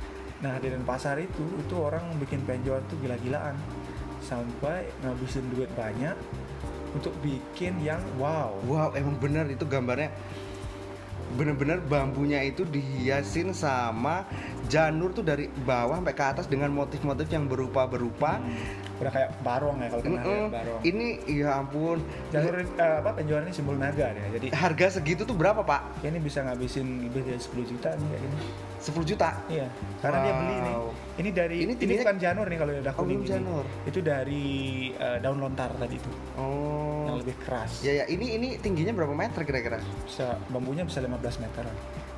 Speaker 2: Nah di Denpasar itu itu orang bikin penjual tuh gila-gilaan sampai ngabisin duit banyak untuk bikin yang wow.
Speaker 1: Wow, emang bener itu gambarnya bener-bener bambunya itu dihiasin sama janur tuh dari bawah sampai ke atas dengan motif-motif yang berupa-berupa.
Speaker 2: Udah kayak barong ya kalau kenal Hmm, ya,
Speaker 1: Mm-mm.
Speaker 2: barong.
Speaker 1: Ini ya ampun.
Speaker 2: Jalur eh, apa penjual ini simbol naga ya. Jadi
Speaker 1: Harga segitu tuh berapa, Pak?
Speaker 2: ini bisa ngabisin lebih dari 10 juta nih kayak gini.
Speaker 1: 10 juta.
Speaker 2: Iya, karena dia beli nih.
Speaker 1: Wow.
Speaker 2: Ini dari
Speaker 1: Ini
Speaker 2: ini,
Speaker 1: tingginya-
Speaker 2: bukan janur nih kalau udah
Speaker 1: Oh,
Speaker 2: kuning.
Speaker 1: belum
Speaker 2: ini.
Speaker 1: janur.
Speaker 2: Itu dari eh, daun lontar tadi itu yang
Speaker 1: Oh.
Speaker 2: lebih keras.
Speaker 1: Ya ya, ini ini tingginya berapa meter kira-kira?
Speaker 2: Bisa bambunya bisa 15 meter.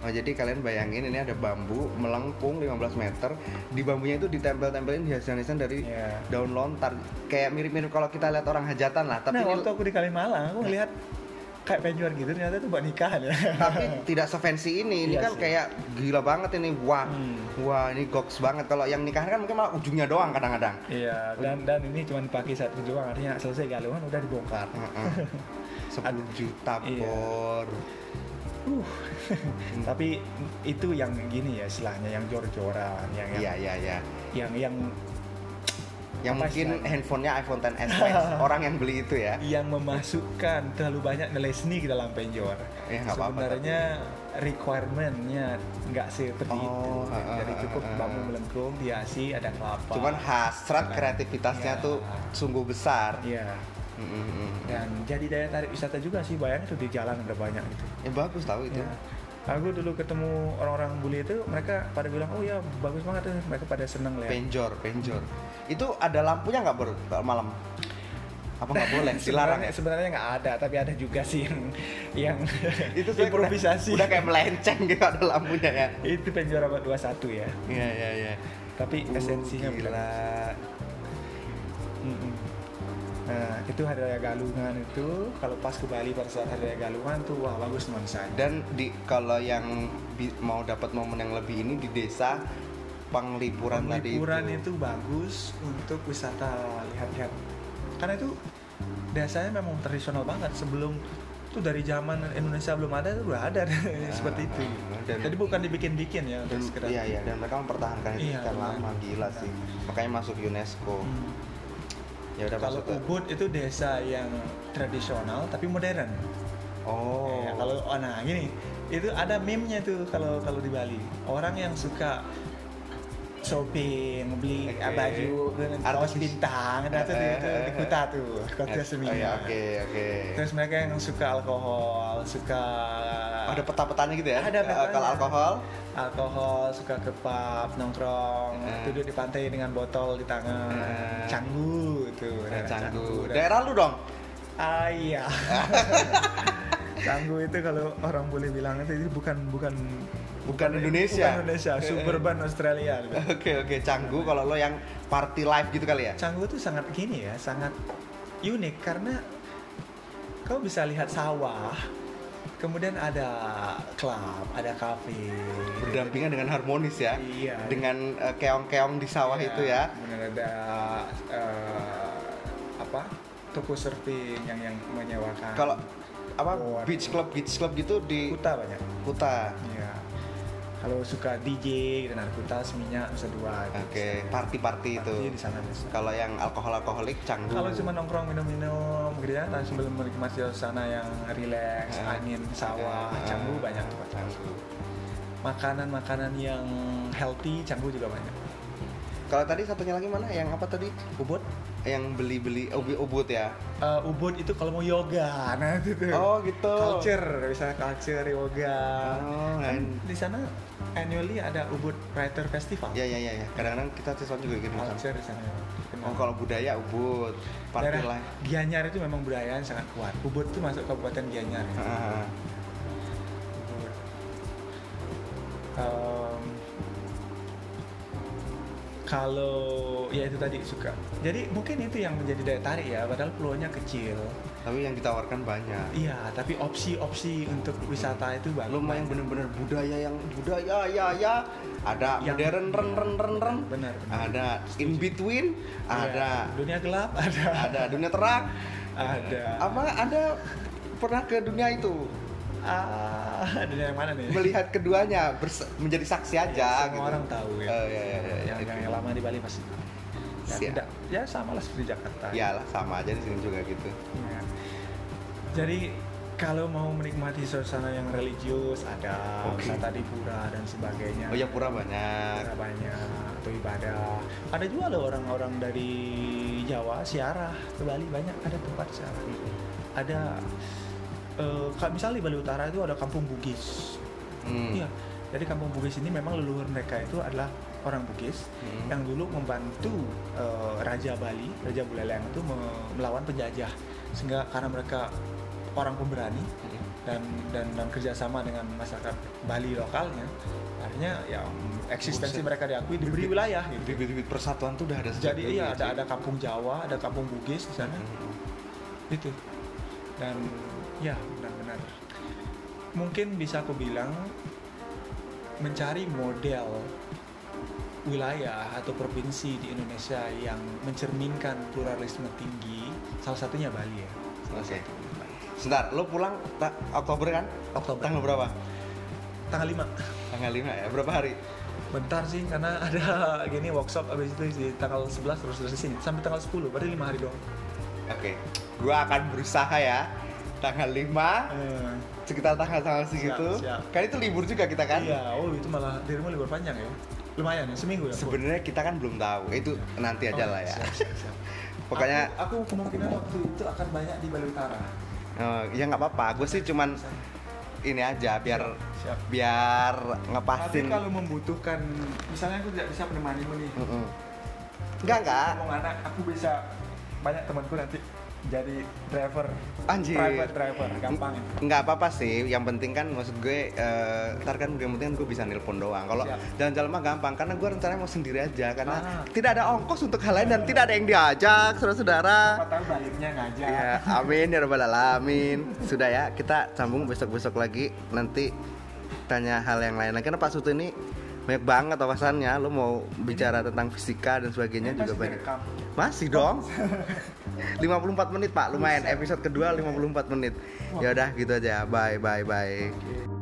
Speaker 1: Oh, jadi kalian bayangin ini ada bambu melengkung 15 meter di bambunya itu ditempel-tempelin hiasan-hiasan dari
Speaker 2: Iya.
Speaker 1: daun lontar kayak mirip-mirip kalau kita lihat orang hajatan lah tapi
Speaker 2: nah,
Speaker 1: ini-
Speaker 2: waktu aku di Kalimalang, aku ngelihat kayak penjual gitu ternyata itu buat nikahan ya.
Speaker 1: tapi tidak sefancy ini ini
Speaker 2: Iya
Speaker 1: kan
Speaker 2: sih.
Speaker 1: kayak gila banget ini wah
Speaker 2: Hmm.
Speaker 1: wah ini goks banget kalau yang nikahan kan mungkin malah ujungnya doang kadang-kadang
Speaker 2: Iya, dan dan ini cuma dipakai satu doang, artinya selesai galungan udah dibongkar.
Speaker 1: Heeh. 10 juta
Speaker 2: Iya.
Speaker 1: por
Speaker 2: Uh. Tapi itu yang gini ya istilahnya yang jor-joran, yang yang
Speaker 1: iya iya iya
Speaker 2: yang yang
Speaker 1: yang
Speaker 2: Apa
Speaker 1: mungkin
Speaker 2: istilahnya?
Speaker 1: handphonenya iPhone 10s Max orang yang beli itu ya
Speaker 2: yang memasukkan terlalu banyak nilai seni ke dalam penjor.
Speaker 1: Ya, nggak apa-apa,
Speaker 2: Sebenarnya requirement-nya nggak seperti itu.
Speaker 1: Oh, ah, ah,
Speaker 2: Jadi
Speaker 1: ah,
Speaker 2: cukup
Speaker 1: ah, ah.
Speaker 2: bambu melengkung, dihiasi, ada kelapa.
Speaker 1: cuman hasrat kreativitasnya
Speaker 2: Iya.
Speaker 1: tuh sungguh besar
Speaker 2: Iya.
Speaker 1: Mm, mm, mm.
Speaker 2: Dan jadi daya tarik wisata juga sih, bayangin tuh di jalan udah banyak gitu.
Speaker 1: Ya bagus tahu itu.
Speaker 2: Ya. Aku dulu ketemu orang-orang bule itu, mereka pada bilang, oh ya bagus banget tuh, mereka pada seneng lihat.
Speaker 1: Penjor, penjor. Itu ada lampunya nggak baru malam? Apa nggak boleh? Dilarang
Speaker 2: Sebenarnya
Speaker 1: ya?
Speaker 2: sebenarnya nggak ada, tapi ada juga sih yang yang
Speaker 1: Itu saya udah-
Speaker 2: improvisasi.
Speaker 1: Udah, kayak melenceng gitu ada lampunya ya.
Speaker 2: itu penjuara abad 21 ya
Speaker 1: Iya iya iya.
Speaker 2: tapi
Speaker 1: Uh,
Speaker 2: esensinya bukan
Speaker 1: gila.
Speaker 2: Mm-mm. nah itu hari raya galungan itu kalau pas ke Bali pada saat hari raya galungan tuh wah bagus nuansanya
Speaker 1: Dan di kalau yang bi- mau dapat momen yang lebih ini di desa Panglipuran, tadi itu.
Speaker 2: liburan itu. bagus untuk wisata lihat-lihat karena itu dasarnya memang tradisional banget sebelum itu dari zaman Indonesia belum ada itu udah ada seperti itu
Speaker 1: Ah, Dan-
Speaker 2: jadi bukan dibikin-bikin ya
Speaker 1: Dan,
Speaker 2: untuk sekedar
Speaker 1: iya iya dan mereka mempertahankan itu
Speaker 2: Iya,
Speaker 1: sekian lama
Speaker 2: benar.
Speaker 1: gila sih makanya masuk UNESCO
Speaker 2: Hmm.
Speaker 1: ya udah
Speaker 2: kalau
Speaker 1: masuk ke
Speaker 2: Ubud itu desa yang tradisional tapi modern
Speaker 1: oh
Speaker 2: Ya, kalau oh, nah gini itu ada meme-nya tuh kalau kalau di Bali orang yang suka shopping beli
Speaker 1: Oke.
Speaker 2: eh, baju dengan kaos
Speaker 1: Artis. Eh,
Speaker 2: bintang nah itu di, itu di Kuta tuh Kota Semina
Speaker 1: oh, iya, oke oke
Speaker 2: terus mereka yang suka alkohol suka
Speaker 1: ada peta-petanya gitu ya
Speaker 2: Ada
Speaker 1: Eh,
Speaker 2: petanya.
Speaker 1: kalau alkohol
Speaker 2: alkohol suka ke pub nongkrong
Speaker 1: Eh.
Speaker 2: duduk di pantai dengan botol di tangan
Speaker 1: Eh.
Speaker 2: canggu itu
Speaker 1: eh, canggu daerah
Speaker 2: daerah
Speaker 1: lu dong
Speaker 2: Ah iya. Canggu itu kalau orang boleh bilang itu, itu bukan bukan
Speaker 1: bukan Indonesia Eh,
Speaker 2: bukan Indonesia, suburban Australia.
Speaker 1: oke oke canggu kalau lo yang party life gitu kali ya
Speaker 2: Canggu itu sangat gini ya, sangat unik karena kau bisa lihat sawah, kemudian ada klub, ada kafe.
Speaker 1: berdampingan dengan harmonis ya
Speaker 2: Iya.
Speaker 1: dengan eh, keong-keong di sawah
Speaker 2: Iya,
Speaker 1: itu ya
Speaker 2: Kemudian ada eh, apa? Toko surfing yang yang menyewakan.
Speaker 1: kalau apa
Speaker 2: Luar.
Speaker 1: beach club beach club gitu di
Speaker 2: kuta banyak.
Speaker 1: Kuta
Speaker 2: Iya. Kalau suka DJ dan narkotas, minyak bisa dua.
Speaker 1: oke party-party itu
Speaker 2: Nanti Iya, di sana bisa.
Speaker 1: kalau yang alkohol alkoholik canggu
Speaker 2: Kalau cuma nongkrong minum-minum gitu ya, tanpa sebelum menikmati suasana yang rileks,
Speaker 1: Eh.
Speaker 2: angin, sawah,
Speaker 1: Eh, eh,
Speaker 2: canggu
Speaker 1: eh,
Speaker 2: banyak
Speaker 1: eh,
Speaker 2: tempat.
Speaker 1: canggu
Speaker 2: Makanan-makanan yang healthy, canggu juga banyak.
Speaker 1: kalau tadi satunya lagi mana yang apa tadi
Speaker 2: Ubud,
Speaker 1: yang beli beli ubud ya
Speaker 2: Eh, Ubud itu kalau mau yoga, nah itu tuh.
Speaker 1: oh gitu
Speaker 2: Culture, bisa culture yoga.
Speaker 1: oh lain
Speaker 2: Di sana annually ada Ubud Writer Festival.
Speaker 1: ya ya ya ya. kadang-kadang kita siswa juga gitu
Speaker 2: Culture di sana.
Speaker 1: oh kalau budaya ubud party
Speaker 2: Daerah
Speaker 1: life
Speaker 2: Gianyar itu memang budaya yang sangat kuat. Ubud itu masuk kabupaten Gianyar. ya.
Speaker 1: Heeh.
Speaker 2: Ubud. Em, kalau ya itu tadi suka. Jadi mungkin itu yang menjadi daya tarik ya. Padahal pulaunya kecil.
Speaker 1: tapi yang ditawarkan banyak
Speaker 2: Iya, tapi opsi-opsi untuk wisata itu banyak.
Speaker 1: lu mah yang bener-bener budaya yang budaya ya ya ada
Speaker 2: Yang-
Speaker 1: modern ren ren ren ren
Speaker 2: Benar, benar.
Speaker 1: ada in between
Speaker 2: Iya,
Speaker 1: ada
Speaker 2: Dunia gelap ada.
Speaker 1: ada dunia terang
Speaker 2: Ada.
Speaker 1: apa anda pernah ke dunia itu
Speaker 2: Ah, dunia yang mana nih?
Speaker 1: melihat keduanya berse- menjadi saksi aja
Speaker 2: Semua
Speaker 1: gitu.
Speaker 2: orang tahu
Speaker 1: Eh,
Speaker 2: ya.
Speaker 1: ya, ya, ya,
Speaker 2: yang,
Speaker 1: ya.
Speaker 2: yang lama di Bali pasti. tahu. Ya,
Speaker 1: Siap. Ya,
Speaker 2: tidak, ya sama lah seperti Jakarta.
Speaker 1: Iyalah Iya sama aja di sini juga gitu.
Speaker 2: Ya. Jadi kalau mau menikmati suasana yang religius ada
Speaker 1: Oke.
Speaker 2: wisata di pura dan sebagainya.
Speaker 1: Oh ya pura
Speaker 2: Pura
Speaker 1: banyak.
Speaker 2: banyak atau ibadah. Ada juga loh orang-orang dari Jawa siarah ke Bali banyak ada tempat siarah.
Speaker 1: Hmm.
Speaker 2: Ada eh, kayak misalnya di Bali Utara itu ada Kampung Bugis.
Speaker 1: Hmm.
Speaker 2: Iya. Jadi Kampung Bugis ini memang leluhur mereka itu adalah orang Bugis
Speaker 1: Hmm.
Speaker 2: yang dulu membantu eh, Raja Bali, Raja Buleleng itu me- melawan penjajah. Sehingga karena mereka orang pemberani
Speaker 1: Hmm.
Speaker 2: dan dan dan kerjasama dengan masyarakat Bali lokalnya, akhirnya ya eksistensi
Speaker 1: Buset.
Speaker 2: mereka diakui diberi wilayah gitu.
Speaker 1: Bibit-bibit persatuan tuh udah ada sejak
Speaker 2: Jadi
Speaker 1: dulu ya,
Speaker 2: iya ada
Speaker 1: sih.
Speaker 2: ada kampung Jawa, ada kampung Bugis di sana
Speaker 1: Hmm.
Speaker 2: gitu dan ya benar-benar mungkin bisa aku bilang mencari model wilayah atau provinsi di Indonesia yang mencerminkan pluralisme tinggi salah satunya Bali ya
Speaker 1: Oke. Sebentar, lo pulang ta- Oktober kan?
Speaker 2: Oktober.
Speaker 1: Tanggal berapa?
Speaker 2: tanggal
Speaker 1: Tanggal 5 ya. Berapa hari?
Speaker 2: 5 bentar sih karena ada gini workshop abis itu di tanggal 11 terus terus di sini sampai tanggal 10 berarti 5 hari doang
Speaker 1: Oke. Gua akan berusaha ya. Tanggal 5
Speaker 2: Eh,
Speaker 1: sekitar tanggal-tanggal segitu.
Speaker 2: siap.
Speaker 1: Kan itu libur juga kita kan?
Speaker 2: iya oh itu malah dirimu libur panjang ya lumayan ya seminggu ya
Speaker 1: Sebenarnya kita kan belum tahu. Itu nanti aja
Speaker 2: Oh,
Speaker 1: lah ya.
Speaker 2: siap, siap, siap.
Speaker 1: Pokoknya
Speaker 2: aku, aku kemungkinan waktu itu akan banyak di Bali Utara.
Speaker 1: eh, ya nggak apa-apa. Gue sih cuman ini aja biar
Speaker 2: Siap.
Speaker 1: biar
Speaker 2: Tapi
Speaker 1: ngepasin.
Speaker 2: kalau membutuhkan, misalnya aku tidak bisa menemanimu nih,
Speaker 1: Mm-mm. Enggak enggak.
Speaker 2: ngomong anak, aku bisa banyak temanku nanti jadi driver,
Speaker 1: Anjir. Iya.
Speaker 2: private driver, gampang.
Speaker 1: Nggak apa-apa sih, yang penting kan maksud gue eh, ntar kan yang penting gue bisa nelpon doang. Kalau
Speaker 2: Siap.
Speaker 1: jalan-jalan mah gampang karena gue rencananya mau sendiri aja karena
Speaker 2: Ah.
Speaker 1: tidak ada ongkos untuk hal lain dan tidak ada yang diajak, saudara-saudara.
Speaker 2: Siapa tahu baliknya ngajak.
Speaker 1: Ya, amin ya rabbal alamin. Sudah ya, kita sambung besok-besok lagi nanti tanya hal yang lain. Lagi karena Pak Sutu ini banyak banget wawasannya. Lu mau bicara tentang fisika dan sebagainya
Speaker 2: Ini
Speaker 1: juga
Speaker 2: masih
Speaker 1: banyak.
Speaker 2: direkam.
Speaker 1: Masih dong. 54 menit Pak, lumayan. Episode kedua 54 menit. Ya udah gitu aja. Bye bye bye.